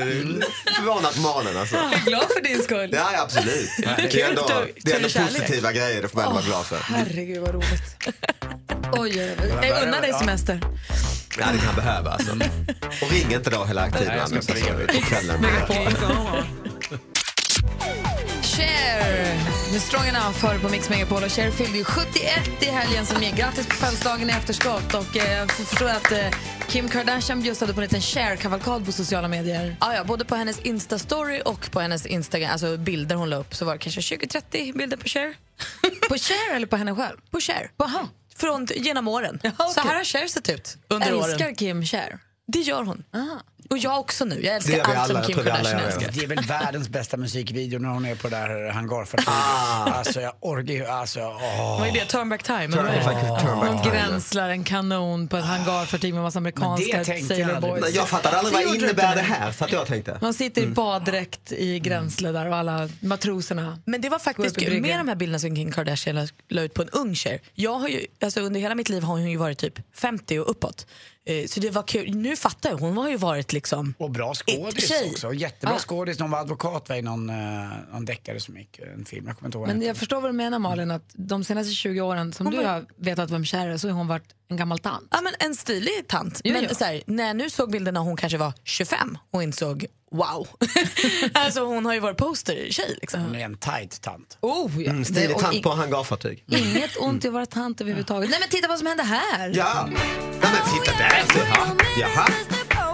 [SPEAKER 17] förvånat på morgonen alltså.
[SPEAKER 4] Jag är glad för din skull.
[SPEAKER 17] Ja, ja absolut. Det är ändå,
[SPEAKER 4] Kul,
[SPEAKER 17] det är ändå
[SPEAKER 4] kul kärlek.
[SPEAKER 17] positiva grejer, det får man ändå vara glad för.
[SPEAKER 4] Herregud vad roligt.
[SPEAKER 2] Oj, oj, oj.
[SPEAKER 4] Jag unnar dig semester.
[SPEAKER 17] Ja, det kan jag behöva alltså. Och ring inte då hela tiden
[SPEAKER 3] Nej, jag ska
[SPEAKER 17] annars.
[SPEAKER 3] inte
[SPEAKER 17] alltså,
[SPEAKER 3] ringa.
[SPEAKER 17] på kvällen.
[SPEAKER 2] Cher med Strong Enough hör på Mix Megapol och Cher fyllde ju 71 i helgen som gick. Grattis på födelsedagen i efterskott och eh, jag förstår att eh, Kim Kardashian bjussade på en liten Cher-kavalkad på sociala medier.
[SPEAKER 4] Ah, Ja, ja, både på hennes Insta-story och på hennes Instagram, alltså bilder hon la upp, så var det kanske 20-30 bilder på Cher.
[SPEAKER 2] På Cher eller på henne själv?
[SPEAKER 4] På Cher. Från genom åren. Så här har Cher sett ut under
[SPEAKER 2] Älskar
[SPEAKER 4] åren.
[SPEAKER 2] Kim Cher? Ah.
[SPEAKER 4] Det gör hon. Och jag också nu. Jag
[SPEAKER 17] Det gör
[SPEAKER 4] älskar
[SPEAKER 17] vi
[SPEAKER 4] allt
[SPEAKER 17] alla.
[SPEAKER 4] som
[SPEAKER 17] Jag
[SPEAKER 4] Kim
[SPEAKER 17] tror vi alla
[SPEAKER 4] Kardashian
[SPEAKER 17] gör det.
[SPEAKER 4] älskar.
[SPEAKER 3] Det är väl världens bästa musikvideo när hon är på det här hangarfartyget.
[SPEAKER 17] Ah.
[SPEAKER 3] Alltså jag orkar ju, alltså åh.
[SPEAKER 4] Vad är det? Turn back time?
[SPEAKER 17] Turn
[SPEAKER 4] eller vad är det?
[SPEAKER 17] back- turn back
[SPEAKER 2] Hon
[SPEAKER 17] time.
[SPEAKER 2] gränslar en kanon på ett hangarfartyg med massa
[SPEAKER 3] Men
[SPEAKER 2] amerikanska
[SPEAKER 3] det tänkte jag aldrig.
[SPEAKER 2] sailorboys.
[SPEAKER 17] Nej, Jag fattade aldrig
[SPEAKER 2] Det
[SPEAKER 17] vad
[SPEAKER 2] gjorde du
[SPEAKER 17] innebär
[SPEAKER 2] inte.
[SPEAKER 17] det här, så att jag tänkte. Mm.
[SPEAKER 2] Man sitter i baddräkt i gränsle där och alla matroserna.
[SPEAKER 4] Men det var faktiskt
[SPEAKER 2] Gå upp i
[SPEAKER 4] kul. med
[SPEAKER 2] bryggan.
[SPEAKER 4] de här bilderna som Kim Kardashian la- la ut på en ung tjej. Jag har ju, alltså under hela mitt liv har hon ju varit typ 50 och uppåt. Eh, Så det var kul. Nu fattar jag, hon har ju varit liksom...
[SPEAKER 3] Och bra skådis
[SPEAKER 4] It-tjej.
[SPEAKER 3] också. Jättebra
[SPEAKER 4] Ah.
[SPEAKER 3] skådis. Någon var advokat va, i någon, eh, någon deckare som gick, eh, en film. Jag kommer inte ihåg vad
[SPEAKER 2] Men
[SPEAKER 3] den
[SPEAKER 2] jag förstår vad du menar Malin, att de senaste 20 åren som du har vetat vem Cher är så har hon varit en gammal tant.
[SPEAKER 4] Ja, men en stilig tant.
[SPEAKER 2] Jo,
[SPEAKER 4] men
[SPEAKER 2] jo.
[SPEAKER 4] Så här, när jag nu såg bilderna hon kanske var 25 och insåg wow. alltså hon har ju varit poster-tjej liksom.
[SPEAKER 3] heter. Hon är en tight tant.
[SPEAKER 2] Oh, ja.
[SPEAKER 17] Mm,
[SPEAKER 2] Det-
[SPEAKER 17] Stilig
[SPEAKER 2] och
[SPEAKER 17] tant
[SPEAKER 2] i-
[SPEAKER 17] på hangarfartyg.
[SPEAKER 2] Inget ont i att vara tant överhuvudtaget. Nej men titta vad som hände här!
[SPEAKER 17] Ja! Nej men titta där! ser jag. Jaha!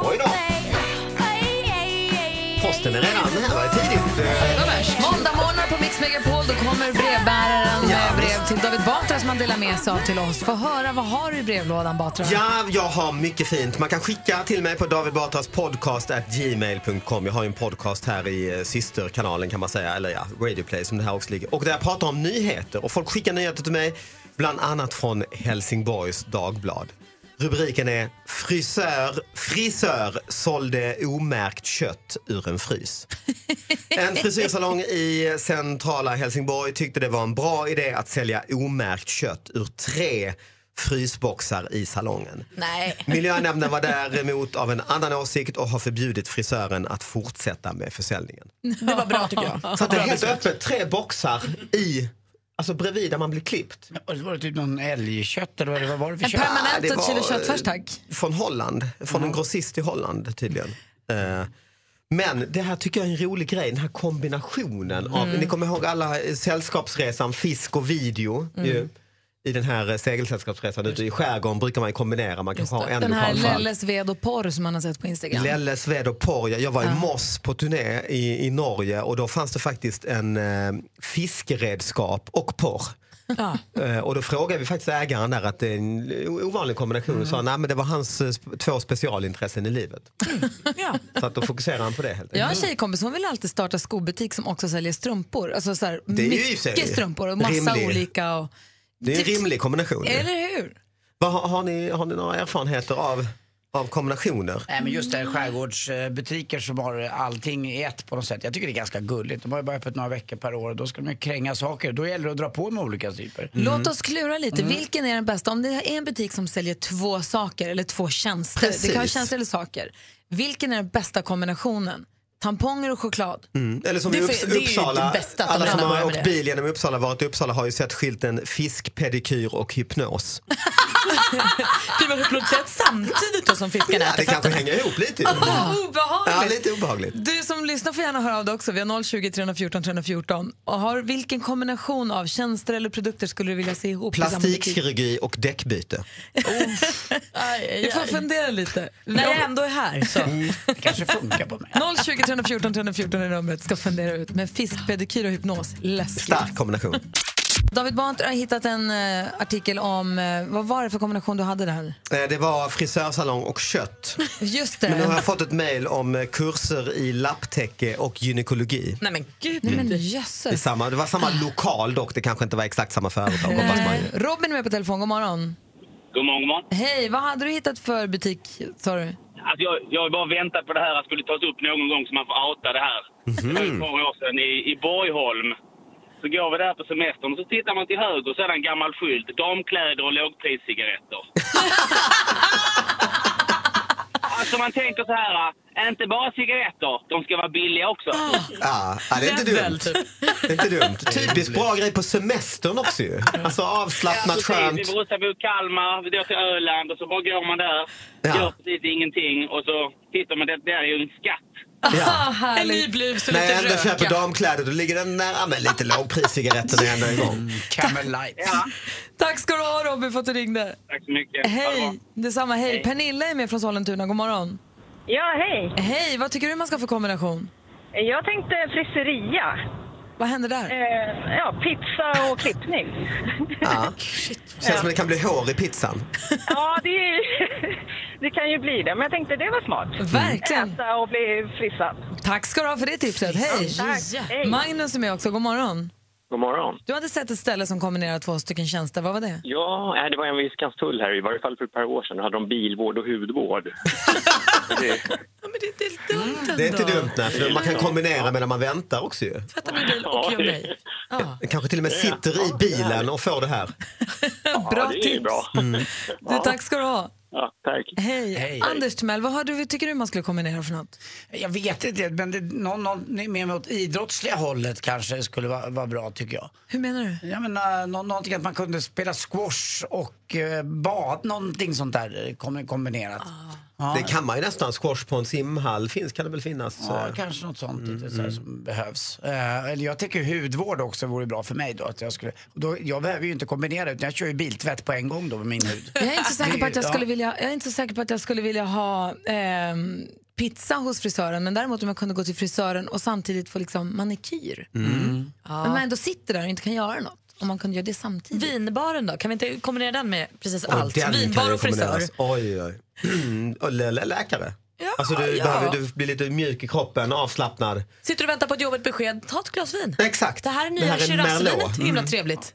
[SPEAKER 17] Oj då! Posten är redan här, var det tidigt? eh.
[SPEAKER 2] Måndag morgon på Mix Megapol då kommer brevbäraren med brev till David Batra som han delar med sig av till oss. Få höra, vad har du i brevlådan Batra?
[SPEAKER 17] Ja, jag har mycket fint. Man kan skicka till mig på David Batras podcast at gmail.com. Jag har ju en podcast här i eh, systerkanalen kan man säga, eller ja, Radio Play som det här också ligger. Och där jag pratar om nyheter och folk skickar nyheter till mig, bland annat från Helsingborgs Dagblad. Rubriken är Frisör, frisör sålde omärkt kött ur en frys. En frisyrsalong i centrala Helsingborg tyckte det var en bra idé att sälja omärkt kött ur tre frysboxar i salongen.
[SPEAKER 4] Nej.
[SPEAKER 17] Miljönämnden var däremot av en annan åsikt och har förbjudit frisören att fortsätta med försäljningen.
[SPEAKER 4] Det var bra tycker jag.
[SPEAKER 17] Så att det är helt öppet, tre boxar i, alltså bredvid där man blir klippt.
[SPEAKER 3] Och det var typ någon älgkött eller vad det var, vad var det för
[SPEAKER 2] En
[SPEAKER 3] kött?
[SPEAKER 17] Ja, det
[SPEAKER 2] permanent
[SPEAKER 17] var,
[SPEAKER 2] ett kilo köttfärs
[SPEAKER 17] eh,
[SPEAKER 2] tack.
[SPEAKER 17] Från Holland, från en grossist i Holland tydligen. Eh, Men det här tycker jag är en rolig grej, den här
[SPEAKER 2] Mm. Mm.
[SPEAKER 17] kombinationen av, ni kommer ihåg alla eh, sällskapsresan, fisk och video. Ju. i den här eh, segelsällskapsresan ute i skärgården brukar man ju kombinera. Man kan ha en
[SPEAKER 2] Den här
[SPEAKER 17] lokal för allt.
[SPEAKER 2] Lelles ved och porr som man har sett på Instagram.
[SPEAKER 17] Lelle, Sved och Porja. Jag var i Moss på turné i, i Norge och då fanns det faktiskt en eh, fiskeredskap och porr.
[SPEAKER 2] Ja.
[SPEAKER 17] Eh, och då frågade vi faktiskt ägaren där att det är en o- ovanlig kombination och
[SPEAKER 2] Mm.
[SPEAKER 17] sa nej men det var hans eh, sp- två specialintressen i livet.
[SPEAKER 2] Mm.
[SPEAKER 17] Så att då fokuserar han på det helt
[SPEAKER 2] Jag har en
[SPEAKER 17] enkelt.
[SPEAKER 2] tjejkompis hon vill alltid starta skobutik som också säljer strumpor. Alltså så här,
[SPEAKER 17] Mm. Det är ju i och för sig
[SPEAKER 2] mycket strumpor och massa
[SPEAKER 17] rimlig-
[SPEAKER 2] olika. Och, Typ-
[SPEAKER 17] Det är en rimlig kombination. ju.
[SPEAKER 2] eller hur?
[SPEAKER 17] Mm. Vad, har, har, ni, har ni några erfarenheter av, av kombinationer?
[SPEAKER 3] Nej, men just det här skärgårdsbutiker som har allting i ett på något sätt. Jag tycker det är ganska gulligt. De har ju bara öppet några veckor per år och då ska de ju kränga saker. Då gäller det att dra på med olika typer.
[SPEAKER 2] Mm. Låt oss klura lite.
[SPEAKER 17] Mm.
[SPEAKER 2] Vilken är den bästa? Om det är en butik som säljer två saker eller två tjänster. Det kan vara
[SPEAKER 17] Precis.
[SPEAKER 2] tjänster eller saker. Vilken är den bästa kombinationen? Tamponger och choklad?
[SPEAKER 17] Mm. Eller som
[SPEAKER 2] Det
[SPEAKER 17] i
[SPEAKER 2] är för-
[SPEAKER 17] Upps-
[SPEAKER 2] det är ju
[SPEAKER 17] Uppsala,
[SPEAKER 2] det bästa att de
[SPEAKER 17] alla som
[SPEAKER 2] redan
[SPEAKER 17] har
[SPEAKER 2] börjar med
[SPEAKER 17] åkt
[SPEAKER 2] det.
[SPEAKER 17] bil genom Uppsala, varit i Uppsala har ju sett skylten fisk, pedikyr och hypnos.
[SPEAKER 4] Blir man hypnotiserad samtidigt då som fiskarna
[SPEAKER 17] Ja, det kanske hänger ihop lite. ju.
[SPEAKER 2] Ah,
[SPEAKER 17] Ja,
[SPEAKER 2] obehagligt.
[SPEAKER 17] lite obehagligt.
[SPEAKER 2] Du som lyssnar får gärna höra av dig också. Vi har 020 314 314. Och har, vilken kombination av tjänster eller produkter skulle du vilja se ihop? i samma butik?
[SPEAKER 17] Plastikkirurgi och däckbyte.
[SPEAKER 2] Du får fundera lite.
[SPEAKER 4] När jag ändå är här så.
[SPEAKER 17] Mm,
[SPEAKER 3] Det kanske funkar på mig.
[SPEAKER 2] 020 314 314 är numret. Ska fundera ut. Men fisk, pedikyr och hypnos. Läskigt.
[SPEAKER 17] Stark kombination.
[SPEAKER 2] David Batra har hittat en eh, artikel om... eh, vad var det för kombination du hade där?
[SPEAKER 17] Eh, Det var frisörsalong och kött.
[SPEAKER 2] Just
[SPEAKER 17] Men nu har
[SPEAKER 2] det.
[SPEAKER 17] jag fått ett mejl om eh, kurser i lapptäcke och gynekologi.
[SPEAKER 2] Mm.
[SPEAKER 4] Nej men gud.
[SPEAKER 2] Nej, men
[SPEAKER 17] Det, är
[SPEAKER 2] jösses.
[SPEAKER 17] samma, det var samma lokal dock, det kanske inte var exakt samma företag. hoppas man ju.
[SPEAKER 2] Eh, Robin är med på telefon. God morgon.
[SPEAKER 11] God morgon, god morgon.
[SPEAKER 2] Hej, vad hade du hittat för butik? Sa du?
[SPEAKER 11] Alltså jag, jag har bara väntat på det här att skulle tas upp någon gång så man får outa det här.
[SPEAKER 17] Mhm.
[SPEAKER 11] Det var ju ett par år sedan i, i Borgholm. Så går vi där på semestern och så tittar man till höger och så är det en gammal skylt. Damkläder och lågpriscigaretter. alltså man tänker så här, eh, inte bara cigaretter, de ska vara billiga också.
[SPEAKER 17] Ja, ja, det är inte
[SPEAKER 11] Level,
[SPEAKER 3] typ.
[SPEAKER 17] dumt. Det är inte dumt. Typiskt bra grej på semestern också ju. Alltså avslappnat,
[SPEAKER 11] precis.
[SPEAKER 17] skönt.
[SPEAKER 11] Vi brusar mot Kalmar, vi går till Öland och så bara går man där.
[SPEAKER 17] Ja.
[SPEAKER 11] Gör precis ingenting och så tittar man, det där är ju en skatt.
[SPEAKER 3] Ah,
[SPEAKER 17] Ja.
[SPEAKER 2] En ny
[SPEAKER 4] blus
[SPEAKER 17] När jag ändå köper damkläder då ligger den nära men lite lågpriscigaretter när jag ändå är igång.
[SPEAKER 3] Mm, Camel light.
[SPEAKER 2] Tack ska du ha Robin för att du ringde.
[SPEAKER 11] Tack så mycket. Ha det bra.
[SPEAKER 2] Hej, detsamma. Hej.
[SPEAKER 11] Hej.
[SPEAKER 2] Pernilla är med från Sollentuna. God morgon.
[SPEAKER 18] Ja, hej.
[SPEAKER 2] Hej, vad tycker du man ska ha för kombination?
[SPEAKER 18] Jag tänkte frisseria.
[SPEAKER 2] Vad händer där?
[SPEAKER 18] Eh, ja, pizza och klippning.
[SPEAKER 17] Ja. Känns som det kan bli hår i pizzan.
[SPEAKER 18] ja, det, är- det kan ju bli det, men jag tänkte det var smart.
[SPEAKER 2] Verkligen.
[SPEAKER 18] Äta och bli frissad.
[SPEAKER 2] Tack ska du ha för det tipset. Hej.
[SPEAKER 18] Tack. Hej.
[SPEAKER 2] Magnus är med också. God morgon.
[SPEAKER 19] God morgon.
[SPEAKER 2] Du hade sett ett ställe som kombinerar två stycken tjänster. Vad var det?
[SPEAKER 19] Ja, nej, det var en vid Skanstull här, i varje fall för ett par år sedan. Då hade de bilvård och hudvård. det,
[SPEAKER 17] Det är inte dumt nej, för man kan kombinera medan man väntar också ju.
[SPEAKER 4] Tvätta min bil och gör mig. Ja.
[SPEAKER 17] Kanske till och med sitter i bilen och får det här.
[SPEAKER 2] Bra
[SPEAKER 19] det är
[SPEAKER 2] tips.
[SPEAKER 19] bra.
[SPEAKER 17] Mm.
[SPEAKER 2] Du, tack ska du ha.
[SPEAKER 19] Ja, tack.
[SPEAKER 2] Hej.
[SPEAKER 3] Hej.
[SPEAKER 2] Anders Timell, vad har du, tycker du man skulle kombinera för något?
[SPEAKER 3] Jag vet inte, men det, någon, någon mer åt idrottsliga hållet kanske skulle vara, vara bra tycker jag.
[SPEAKER 2] Hur menar du?
[SPEAKER 3] Jag menar, nå- någonting att man kunde spela squash och eh, bad, någonting sånt där eh, kom- kombinerat.
[SPEAKER 2] Ah.
[SPEAKER 3] Ja.
[SPEAKER 17] Det kan man ju nästan. Squash på en simhall finns, kan det väl finnas?
[SPEAKER 3] Ja,
[SPEAKER 17] eh,
[SPEAKER 3] kanske något sånt lite
[SPEAKER 17] Mm.
[SPEAKER 3] så här, som behövs. Eh, eller jag tycker hudvård också vore bra för mig då. Att jag, skulle, då. jag behöver ju inte kombinera utan jag kör ju biltvätt på en gång då med min hud.
[SPEAKER 2] Jag är inte så säker på att jag
[SPEAKER 3] Ja.
[SPEAKER 2] skulle vilja, jag är inte så säker på att jag skulle vilja ha ehm, pizza hos frisören, men däremot om jag kunde gå till frisören och samtidigt få liksom manikyr.
[SPEAKER 4] Mm.
[SPEAKER 2] Men man ändå sitter där och inte kan göra något. Om man kunde göra det samtidigt.
[SPEAKER 4] Vinbaren då? Kan vi inte kombinera den med precis
[SPEAKER 17] Oj,
[SPEAKER 4] allt?
[SPEAKER 17] den kan
[SPEAKER 4] Vinbar
[SPEAKER 17] ju
[SPEAKER 4] och frisör.
[SPEAKER 17] kombineras. Oj, oj. Eller lä- läkare. alltså du,
[SPEAKER 4] ja.
[SPEAKER 17] behöver, du blir lite mjuk i kroppen, avslappnad.
[SPEAKER 4] Sitter du och väntar på ett jobbigt besked, ta ett glas vin.
[SPEAKER 17] Exakt.
[SPEAKER 4] Det här är
[SPEAKER 17] Det
[SPEAKER 4] nya
[SPEAKER 17] här är Merlot.
[SPEAKER 4] Shirazvinet, himla
[SPEAKER 17] Mm.
[SPEAKER 4] trevligt.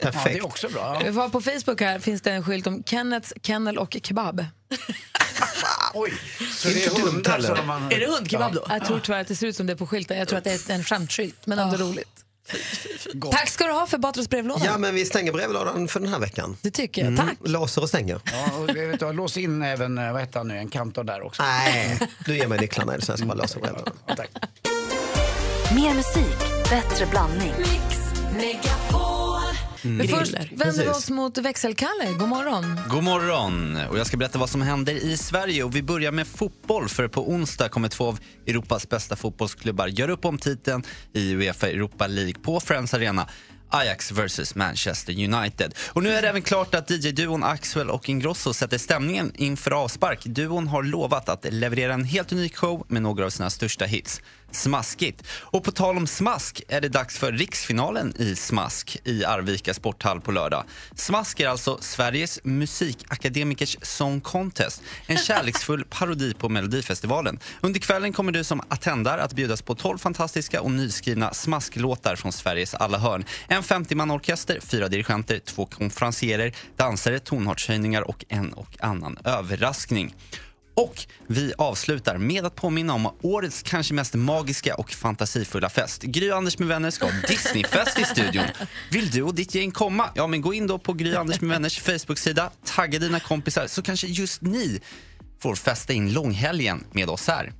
[SPEAKER 17] Perfekt.
[SPEAKER 3] det är också bra.
[SPEAKER 2] Vi var på Facebook här finns det en skylt om Kennets kennel och kebab.
[SPEAKER 3] Oj, så
[SPEAKER 17] Inte
[SPEAKER 3] det är
[SPEAKER 17] dumt
[SPEAKER 3] hundar
[SPEAKER 17] heller.
[SPEAKER 3] som man...
[SPEAKER 4] Är det hundkebab då?
[SPEAKER 2] Jag tror tyvärr att det ser ut som det är på skylten. Jag tror att det är en skämtskylt, men ändå roligt.
[SPEAKER 17] Gott.
[SPEAKER 2] Tack ska du ha för Batras brevlåda.
[SPEAKER 17] Ja, men vi stänger brevlådan för den här veckan.
[SPEAKER 2] Det tycker jag. Tack.
[SPEAKER 17] Låser och stänger.
[SPEAKER 3] Ja, och vet du, lås in även, eh, vad heter han nu, en kantor där också.
[SPEAKER 17] Nej, du ger mig nycklarna så jag ska bara låsa brevlådan.
[SPEAKER 9] Mer musik, bättre blandning.
[SPEAKER 2] Men först
[SPEAKER 20] Griller.
[SPEAKER 2] vänder vi
[SPEAKER 20] Precis.
[SPEAKER 2] oss mot växelkalle. God morgon.
[SPEAKER 20] God morgon! Och jag ska berätta vad som händer i Sverige. Och vi börjar med fotboll, för på onsdag kommer två av Europas bästa fotbollsklubbar göra upp om titeln i Uefa Europa League på Friends Arena. Ajax vs Manchester United. Och nu är det även klart att DJ-duon Axwell och Ingrosso sätter stämningen inför avspark. Duon har lovat att leverera en helt unik show med några av sina största hits. Smaskigt. Och på tal om smask är det dags för riksfinalen i smask i Arvika sporthall på lördag. Smask är alltså Sveriges musikakademikers song contest. En kärleksfull parodi på Melodifestivalen. Under kvällen kommer du som attendar att bjudas på 12 fantastiska och nyskrivna smasklåtar från Sveriges alla hörn. En 50-mannaorkester, fyra dirigenter, två konferensierer, dansare, tonartshöjningar och en och annan överraskning. Och vi avslutar med att påminna om årets kanske mest magiska och fantasifulla fest. Gry och Anders med vänner ska ha Disneyfest i studion. Vill du och ditt gäng komma? Ja, men gå in då på Gry och Anders med vänners Facebook-sida, tagga dina kompisar så kanske just ni får festa in långhelgen med oss här.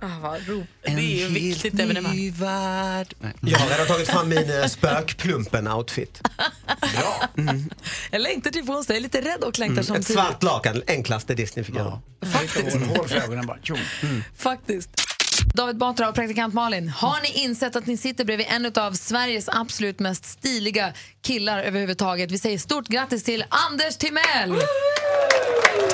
[SPEAKER 4] Ah, vad ro. Det är ju viktigt evenemang.
[SPEAKER 20] Mm.
[SPEAKER 17] Jag har redan tagit fram min eh, spökplumpen-outfit.
[SPEAKER 2] Jag längtar till på onsdag. Jag är lite rädd och längtar
[SPEAKER 17] Mm.
[SPEAKER 2] som
[SPEAKER 17] Ett svart lakan, enklaste Mm. Disney fick göra.
[SPEAKER 2] Faktiskt.
[SPEAKER 3] Hål för ögonen bara. tjong.
[SPEAKER 2] Faktiskt. Mm. David Batra och praktikant Malin, har ni insett att ni sitter bredvid en av Sveriges absolut mest stiliga killar överhuvudtaget? Vi säger stort grattis till Anders Timell!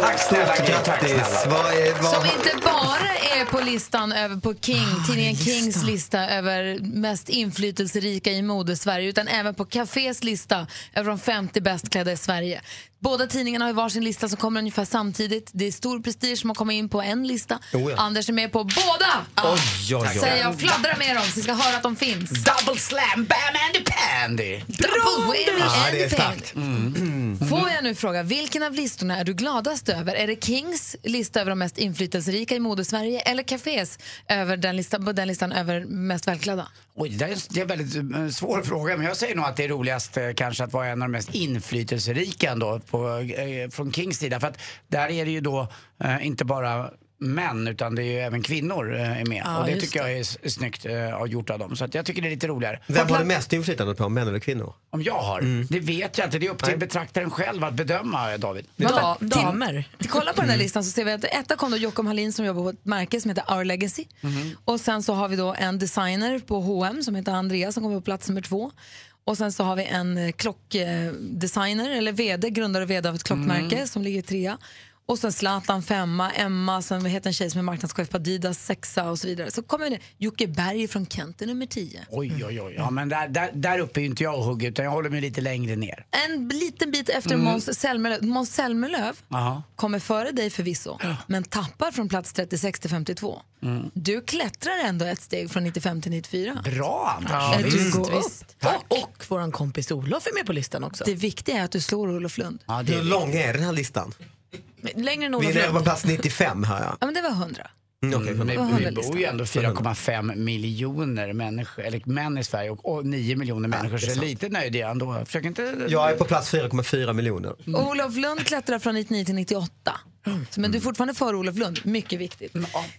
[SPEAKER 17] Tack snälla Gry, tack grattis. Vad är, vad...
[SPEAKER 2] Som inte bara är på listan över på King, tidningen Kings lista över mest inflytelserika i mode-Sverige utan även på Cafés lista över de 50 bäst klädda i Sverige. Båda tidningarna har ju varsin lista som kommer ungefär samtidigt. Det är stor prestige som har kommit in på en lista.
[SPEAKER 17] Oh ja.
[SPEAKER 2] Anders är med på båda!
[SPEAKER 17] Oj, oj,
[SPEAKER 2] Säger
[SPEAKER 17] oj.
[SPEAKER 2] jag, fladdra med dem så ni ska höra att de finns.
[SPEAKER 3] Double slam, bam and pandy!
[SPEAKER 2] Double whammy
[SPEAKER 17] Ja,
[SPEAKER 2] and
[SPEAKER 17] det är
[SPEAKER 2] bang.
[SPEAKER 17] starkt. Mm.
[SPEAKER 2] Får jag nu fråga, vilken av listorna är du gladast över? Är det Kings lista över de mest inflytelserika i modesverige eller Cafés över den, lista, på den listan över mest välklädda?
[SPEAKER 3] Oj, det, där är, det är en väldigt eh, svår fråga, men jag säger nog att det är roligast eh, kanske att vara en av de mest inflytelserika ändå på, eh, från Kings sida. För att där är det ju då eh, inte bara män, utan det är ju även kvinnor eh, är med.
[SPEAKER 17] Ja,
[SPEAKER 3] och det
[SPEAKER 17] just
[SPEAKER 3] tycker jag är s- snyggt eh, och gjort av dem. Så att jag tycker det är lite roligare.
[SPEAKER 17] Vem har du mest inflytande på, män eller kvinnor? Mm.
[SPEAKER 3] Om jag har? Det vet jag inte. Det är upp till betraktaren själv att bedöma, eh, David.
[SPEAKER 2] Ja, till- till- Kolla på den här listan så ser vi att etta kom då Jockum Hallin som jobbar på ett märke som heter Our Legacy. Och sen så har vi då en designer på H&M som heter Andrea som kommer på plats nummer två. Och sen så har vi en eh, klockdesigner, eller vd, grundare och vd av ett klockmärke som ligger trea. Och sen Zlatan femma, Emma, sen heter en tjej som är marknadschef på Adidas sexa och så vidare. Så kommer det Jocke Berg från Kent är nummer tio.
[SPEAKER 3] Oj, oj, oj. Ja, men där, där, där uppe är ju inte jag och hugger, utan jag håller mig lite längre ner.
[SPEAKER 2] En liten bit efter
[SPEAKER 3] Mm.
[SPEAKER 2] Måns Zelmerlöw. Måns Zelmerlöw
[SPEAKER 3] Jaha.
[SPEAKER 2] kommer före dig förvisso, men tappar från plats 36 till 52.
[SPEAKER 3] Mm.
[SPEAKER 2] Du klättrar ändå ett steg från 95 till 94.
[SPEAKER 3] Bra, Anders.
[SPEAKER 2] Ja,
[SPEAKER 4] Ja,
[SPEAKER 2] visst,
[SPEAKER 4] visst,
[SPEAKER 2] visst.
[SPEAKER 4] visst. Och, och vår kompis Olof är med på listan också.
[SPEAKER 2] Det viktiga är att du slår Olof Lund.
[SPEAKER 17] Hur lång är den här listan?
[SPEAKER 2] Längre än
[SPEAKER 17] Vi är
[SPEAKER 2] Olof
[SPEAKER 17] nere på
[SPEAKER 2] Lund.
[SPEAKER 17] plats 95 hör jag.
[SPEAKER 2] Ja, men det var 100.
[SPEAKER 17] Mm, okej,
[SPEAKER 2] Vad
[SPEAKER 3] Men vi-
[SPEAKER 2] har
[SPEAKER 3] vi
[SPEAKER 2] väl
[SPEAKER 3] bor ju ändå 4,5 miljoner människor, eller män i Sverige och och 9 miljoner människor,
[SPEAKER 17] det är
[SPEAKER 3] så
[SPEAKER 17] sant.
[SPEAKER 3] lite nöjd är jag ändå. Försök inte...
[SPEAKER 17] Jag är på plats 4,4 miljoner.
[SPEAKER 2] Olof Lund klättrar från 99 till 98. Så, men du är fortfarande före Olof Lund, mycket viktigt.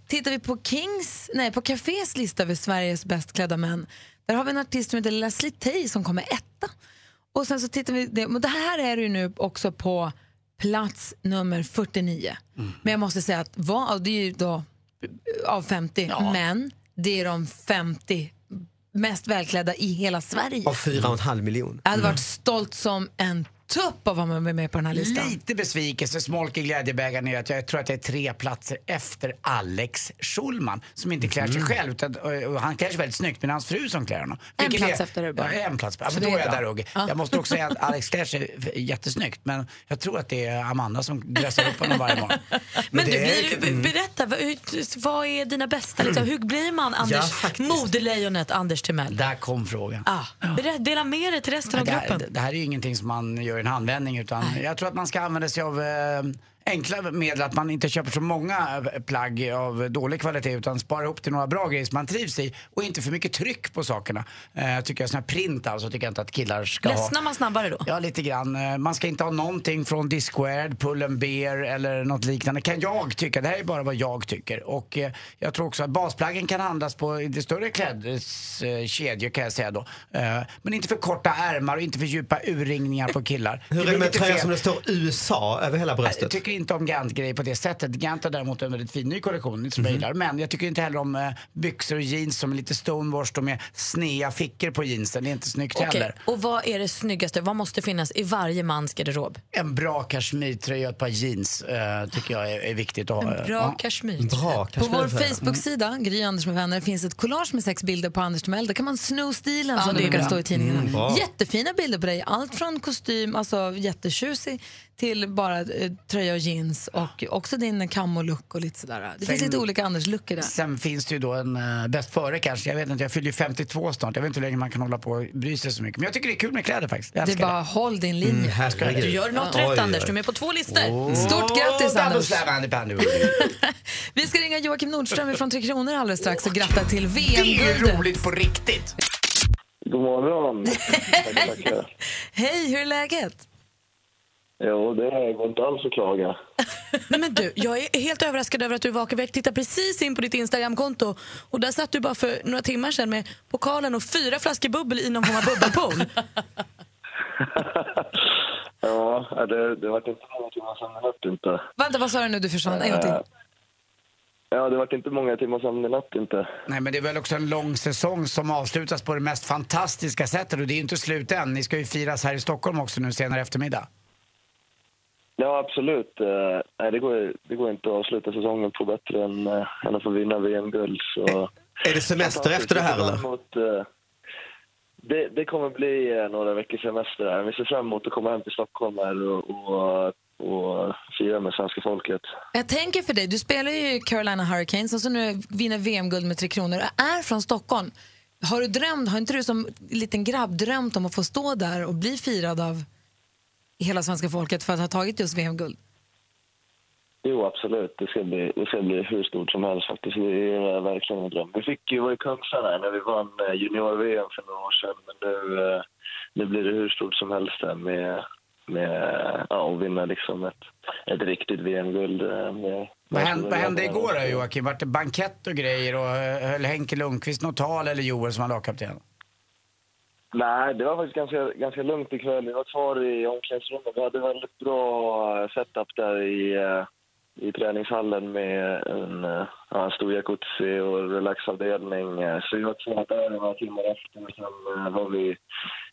[SPEAKER 2] Tittar vi på Kings, nej på Cafés lista över Sveriges bäst klädda män, där har vi en artist som heter Leslie Tay som kommer etta. Och sen så tittar vi, det, men det här är ju nu också på plats nummer 49. Men jag måste säga att vad, det är ju då eh, av 50 men det är de 50 mest välklädda i hela Sverige.
[SPEAKER 17] Av 4,5 miljoner.
[SPEAKER 2] Jag hade varit stolt som en tupp av att vara med på den här listan.
[SPEAKER 3] Lite besvikelse smolk i glädjebägaren är att jag tror att jag är tre platser efter Alex Schulman som inte klär sig
[SPEAKER 2] Mm.
[SPEAKER 3] själv. Utan, och, och han klär sig väldigt snyggt men det är hans fru som klär honom.
[SPEAKER 2] En
[SPEAKER 3] Vilket
[SPEAKER 2] plats
[SPEAKER 3] är,
[SPEAKER 2] efter det bara.
[SPEAKER 3] Ja, en plats. Ja,
[SPEAKER 2] Så
[SPEAKER 3] men
[SPEAKER 2] det
[SPEAKER 3] då
[SPEAKER 2] är
[SPEAKER 3] är jag
[SPEAKER 2] bra.
[SPEAKER 3] där Roger.
[SPEAKER 2] Ja.
[SPEAKER 3] Jag måste också säga att Alex klär sig f- jättesnyggt men jag tror att det är Amanda som dressar upp honom varje morgon.
[SPEAKER 4] Men, du, blir,
[SPEAKER 3] Mm.
[SPEAKER 4] du- berätta, vad, hur- vad är dina bästa? Liksom, hur blir man Anders, modelejonet Anders Timell?
[SPEAKER 3] Där kom frågan.
[SPEAKER 4] Ah, berä- dela med dig till resten av
[SPEAKER 3] det, här,
[SPEAKER 4] gruppen.
[SPEAKER 3] det här är ju ingenting som man gör i en handvändning utan jag tror att man ska använda sig av eh, enkla medel, att man inte köper så många eh, plagg av dålig kvalitet utan sparar ihop till några bra grejer som man trivs i och inte för mycket tryck på sakerna. Eh, tycker jag, sån här print alltså, tycker jag inte att killar ska ha.
[SPEAKER 4] Ledsnar man snabbare då?
[SPEAKER 3] Ja, lite grann. Eh, Man ska inte ha någonting från Discord, Pull and Bear eller något liknande. Kan jag tycka. Det här är bara vad jag tycker. Och eh, jag tror också att basplaggen kan handlas på lite större klädeskedjor kan jag säga då. Eh, Men inte för korta ärmar och inte för djupa urringningar på killar.
[SPEAKER 17] Hur är
[SPEAKER 3] blir
[SPEAKER 17] det med
[SPEAKER 3] lite
[SPEAKER 17] tröjan
[SPEAKER 3] fel.
[SPEAKER 17] som det står USA över hela bröstet?
[SPEAKER 3] Jag tycker inte om Gant-grejer på det sättet. Gant har däremot en väldigt fin ny kollektion
[SPEAKER 17] Mhm.
[SPEAKER 3] som jag gillar. Men jag tycker inte heller om eh, byxor och jeans som är lite stonewashed och med snea fickor på jeansen. Det är inte snyggt
[SPEAKER 4] Okej,
[SPEAKER 3] heller.
[SPEAKER 4] och vad är det snyggaste? Vad måste finnas i varje mans garderob?
[SPEAKER 3] En bra kashmirtröja och ett par jeans eh, tycker jag är, är viktigt att ha.
[SPEAKER 4] En bra kashmir.
[SPEAKER 2] På
[SPEAKER 17] Bra
[SPEAKER 2] vår
[SPEAKER 17] kashmirtröja.
[SPEAKER 3] Mm.
[SPEAKER 2] Facebook-sida, Gry Anders med vänner, finns ett collage med sex bilder på Anders Timell. Där kan man sno stilen
[SPEAKER 4] Ja,
[SPEAKER 2] som
[SPEAKER 4] det är
[SPEAKER 2] det brukar
[SPEAKER 4] bra.
[SPEAKER 2] stå i tidningarna.
[SPEAKER 4] Mm, bra.
[SPEAKER 2] Jättefina bilder på dig. Allt från kostym, alltså jättetjusig, till bara eh, tröja och jeans och också din kammo-look och lite sådär. Det finns
[SPEAKER 3] Sen-
[SPEAKER 2] lite olika Anders-luckor där.
[SPEAKER 3] Sen finns det ju då en eh, bäst före kanske. Jag vet inte, jag fyller ju 52 snart. Jag vet inte hur länge man kan hålla på och bry sig så mycket. Men jag tycker det är kul med kläder faktiskt. Jag
[SPEAKER 2] Det är
[SPEAKER 3] älskar
[SPEAKER 2] bara håll din linje.
[SPEAKER 3] Mm, herregud.
[SPEAKER 4] Du gör något
[SPEAKER 3] Oj,
[SPEAKER 4] rätt
[SPEAKER 3] oj.
[SPEAKER 4] Anders, du är med på två listor.
[SPEAKER 3] det.
[SPEAKER 2] Stort grattis
[SPEAKER 3] Åh, double
[SPEAKER 2] Anders!
[SPEAKER 3] slam, Andy Pandu.
[SPEAKER 2] Vi ska ringa Joakim Nordström från Tre Kronor alldeles strax och gratta till
[SPEAKER 3] Det är ju
[SPEAKER 2] VM-guldet.
[SPEAKER 3] roligt på riktigt.
[SPEAKER 21] God morgon. Tackar, tackar.
[SPEAKER 2] Hej, hur är läget?
[SPEAKER 21] Jo, det går inte alls att klaga.
[SPEAKER 4] Nej, men du, jag är helt överraskad över att du vaknade. Jag tittade precis in på ditt Instagramkonto och där satt du bara för några timmar sedan med pokalen och fyra flaskor bubbel i någon form av bubbelpool.
[SPEAKER 21] Ja, det, det vart inte många timmar sömn i natt inte.
[SPEAKER 2] Vänta, vad sa du nu? Du försvann en gång till.
[SPEAKER 21] Eh, Ja, det vart inte många timmar sömn i natt inte.
[SPEAKER 3] Nej, men det är väl också en lång säsong som avslutas på det mest fantastiska sättet. Och det är ju inte slut än. Ni ska ju firas här i Stockholm också nu senare eftermiddag.
[SPEAKER 21] Ja, absolut. Eh, Nej, det går, det går inte att avsluta säsongen på bättre än, eh, än att få vinna VM-guld. Så...
[SPEAKER 17] Är det semester efter det här,
[SPEAKER 21] Vi ser
[SPEAKER 17] eller?
[SPEAKER 21] fram emot, eh, det, det kommer bli eh, några veckors semester här. Vi ser fram emot att komma hem till Stockholm här och, och, och fira med svenska folket.
[SPEAKER 2] Jag tänker för dig, du spelar ju Carolina Hurricanes och så nu vinner VM-guld med Tre Kronor och är från Stockholm. Har du drömt, har inte du som liten grabb drömt om att få stå där och bli firad av hela svenska folket för att ha tagit just VM-guld?
[SPEAKER 21] Jo, absolut. Det ska bli, det ska bli hur stort som helst faktiskt. Det är verkligen en dröm. Vi fick ju vara i Kungshamn när vi vann eh, junior-VM för några år sedan. Men nu, eh, nu blir det hur stort som helst här med, med ja, att vinna liksom ett, ett riktigt VM-guld. eh, med-
[SPEAKER 3] Vad
[SPEAKER 21] med
[SPEAKER 3] hände,
[SPEAKER 21] stora
[SPEAKER 3] vad hände
[SPEAKER 21] grabbarna.
[SPEAKER 3] igår då, Joakim? Vart det bankett och grejer? Och eh, höll Henke Lundqvist något tal eller Joel som var lagkapten?
[SPEAKER 21] Nej, det var faktiskt ganska, ganska lugnt ikväll. Vi var kvar i omklädningsrummet. Vi hade väldigt bra eh, setup där i, eh, i träningshallen med en, eh, ja, en stor jacuzzi och relaxavdelning. Eh, Så vi var kvar där några timmar efter. Sen eh, var vi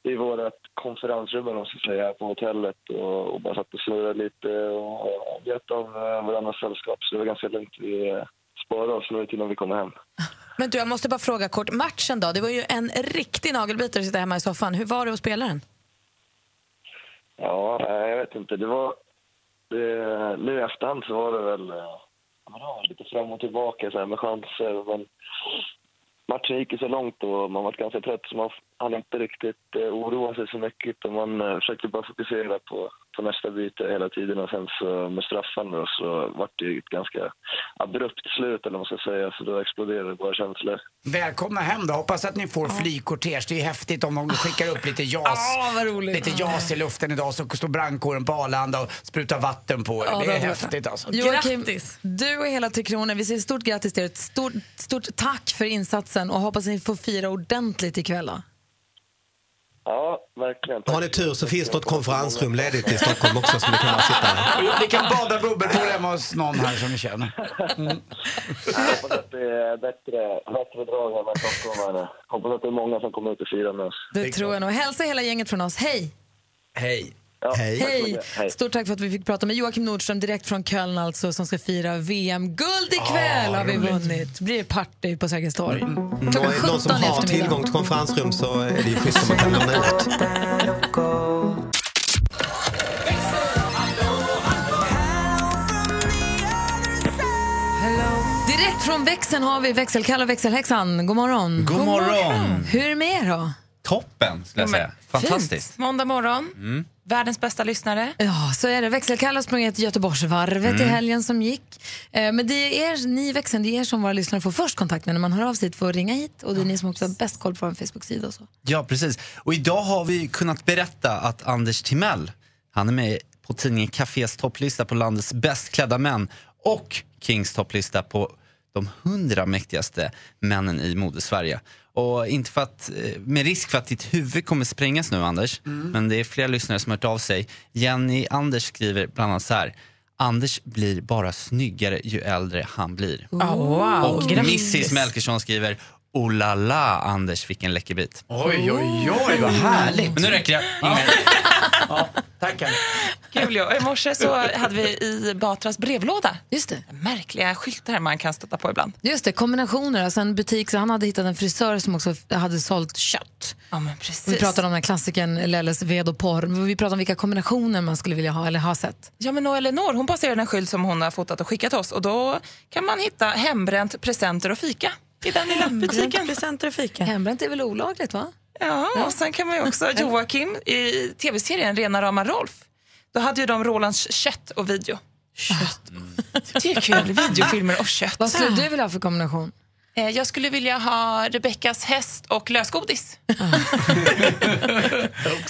[SPEAKER 21] i vårt konferensrum, eller vad man ska säga, på hotellet och, och bara satt och snurrade lite och och njöt av eh, varandras sällskap. Så det var ganska lugnt. Vi eh, sparade oss nu till när vi kommer hem.
[SPEAKER 4] Men du, jag måste bara fråga kort. Matchen då? Det var ju en riktig nagelbitare att sitta hemma i soffan. Hur var det att spela den?
[SPEAKER 21] Ja, eh, jag vet inte. Det var... Det, nu i efterhand så var det väl eh, ja, men det var lite fram och tillbaka så här, med chanser. Men matchen gick ju så långt och man var ganska trött så man f- hann inte riktigt eh, oroa sig så mycket. Utan man eh, försökte bara fokusera på, på nästa byte hela tiden. Och sen så med straffarna då, så var det ju ett ganska abrupt slut eller vad man ska säga. Så då exploderade våra känslor.
[SPEAKER 3] Välkomna hem då. Hoppas att ni får flygkortege. Det är ju häftigt om de skickar upp lite JAS. Lite JAS i luften idag så står brandkåren på Arlanda och sprutar vatten på er.
[SPEAKER 2] Ja,
[SPEAKER 3] det är
[SPEAKER 2] det-
[SPEAKER 3] häftigt alltså.
[SPEAKER 2] Joakim, du och hela Tre Kronor, vi säger stort grattis till er. Ett stort, stort tack för insatsen och hoppas ni får fira ordentligt ikväll. Då.
[SPEAKER 21] Ja, verkligen.
[SPEAKER 17] Har ni tur så finns något konferensrum ledigt i Stockholm också som ni kan bara sitta i.
[SPEAKER 3] Ni kan bada bubbelpool hemma hos någon här som ni känner.
[SPEAKER 2] Mm.
[SPEAKER 21] Jag hoppas att det är bättre, bättre drag här med stockholmarna. Hoppas att det är många som kommer ut och firar med oss.
[SPEAKER 2] Det tror jag nog. Hälsa hela gänget från oss. Hej!
[SPEAKER 21] Hej!
[SPEAKER 2] Hej. Stort tack för att vi fick prata med Joakim Nordström direkt från Köln alltså, som ska fira VM-guld ikväll
[SPEAKER 17] Ah,
[SPEAKER 2] har vi
[SPEAKER 17] roligt.
[SPEAKER 2] vunnit. blir det party på Sergels torg.
[SPEAKER 17] Mm, och är det någon som
[SPEAKER 2] 17 i
[SPEAKER 17] har
[SPEAKER 2] eftermiddag.
[SPEAKER 17] tillgång till konferensrum så är det ju schysst om man kan lämna ut.
[SPEAKER 2] Direkt från växeln har vi växelkall och växelhäxan. God morgon.
[SPEAKER 20] God morgon.
[SPEAKER 2] Hur är det med er då?
[SPEAKER 20] Toppen, skulle jag säga. Fantastiskt.
[SPEAKER 22] Måndag morgon,
[SPEAKER 20] Mm.
[SPEAKER 22] världens bästa lyssnare.
[SPEAKER 2] Ja, så är det. Växelkall har sprungit Göteborgsvarvet
[SPEAKER 22] Mm.
[SPEAKER 2] i helgen som gick. Eh, Men det är er, ni i växeln, det är er som våra lyssnare får först kontakt med när man hör av sig hit för att ringa hit. Och det är ni som också har bäst koll på vår Facebook-sida och så.
[SPEAKER 20] Ja, precis. Och idag har vi kunnat berätta att Anders Timell, han är med på tidningen Cafés topplista på landets bäst klädda män och Kings topplista på de hundra mäktigaste männen i modesverige. Och inte för att, eh, med risk för att ditt huvud kommer sprängas nu Anders, men det är flera lyssnare som har hört av sig. Jenny Anders skriver bland annat så här. Anders blir bara snyggare ju äldre han blir.
[SPEAKER 23] Ah, wow.
[SPEAKER 20] Och
[SPEAKER 23] Grattis.
[SPEAKER 20] Mrs Melkersson skriver Oh la la Anders, vilken läcker bit.
[SPEAKER 3] Oj, oj, oj, vad härligt.
[SPEAKER 20] Men nu räcker det.
[SPEAKER 22] Kul ja. I morse så hade vi i Batras brevlåda
[SPEAKER 2] Just det.
[SPEAKER 22] märkliga skyltar man kan stöta på ibland.
[SPEAKER 2] Just det, kombinationer. Alltså en butik, så han hade hittat en frisör som också f- hade sålt kött.
[SPEAKER 22] Ja, men precis.
[SPEAKER 2] Vi pratade om den här klassikern Lelles ved och porr. Men Vi pratade om vilka kombinationer man skulle vilja ha eller ha sett.
[SPEAKER 22] Ja, men och Eleanor hon passerar en skylt som hon har fotat och skickat oss och då kan man hitta hembränt, presenter och fika i den lilla butiken.
[SPEAKER 24] Presenter och fika.
[SPEAKER 2] Mm. Hembränt är väl olagligt va?
[SPEAKER 22] Ja, och sen kan man ju också Joakim i tv-serien Rena rama Rolf. Då hade ju de Rolands kött och video. Kött. Det är kul. Videofilmer och kött.
[SPEAKER 2] Vad skulle du vilja ha för kombination?
[SPEAKER 22] Eh, Jag skulle vilja ha Rebeckas häst och lösgodis.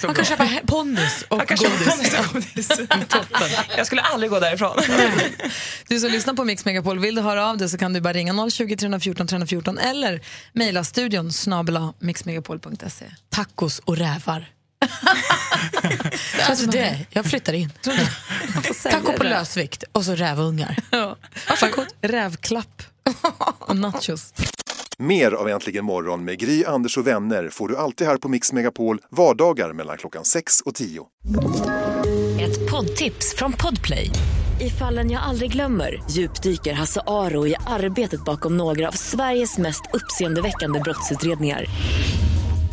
[SPEAKER 24] Man kan köpa he- pondus och
[SPEAKER 22] Jag kan köpa
[SPEAKER 24] godis.
[SPEAKER 22] pommes och godis. Jag skulle aldrig gå därifrån.
[SPEAKER 2] Du som lyssnar på Mix Megapol, vill du höra av dig så kan du bara ringa 020 314 314 eller mejla studion snabela mixmegapol.se.
[SPEAKER 24] Tacos och rävar. alltså det, jag flyttar in. Taco på lösvikt och så rävungar.
[SPEAKER 2] Varsågod. Rävklapp och nachos.
[SPEAKER 8] Mer av Äntligen morgon med Gry, Anders och vänner får du alltid här på Mix Megapol vardagar mellan klockan 6 och 10.
[SPEAKER 4] Ett poddtips från Podplay. I fallen jag aldrig glömmer djupdyker Hasse Aro i arbetet bakom några av Sveriges mest uppseendeväckande brottsutredningar.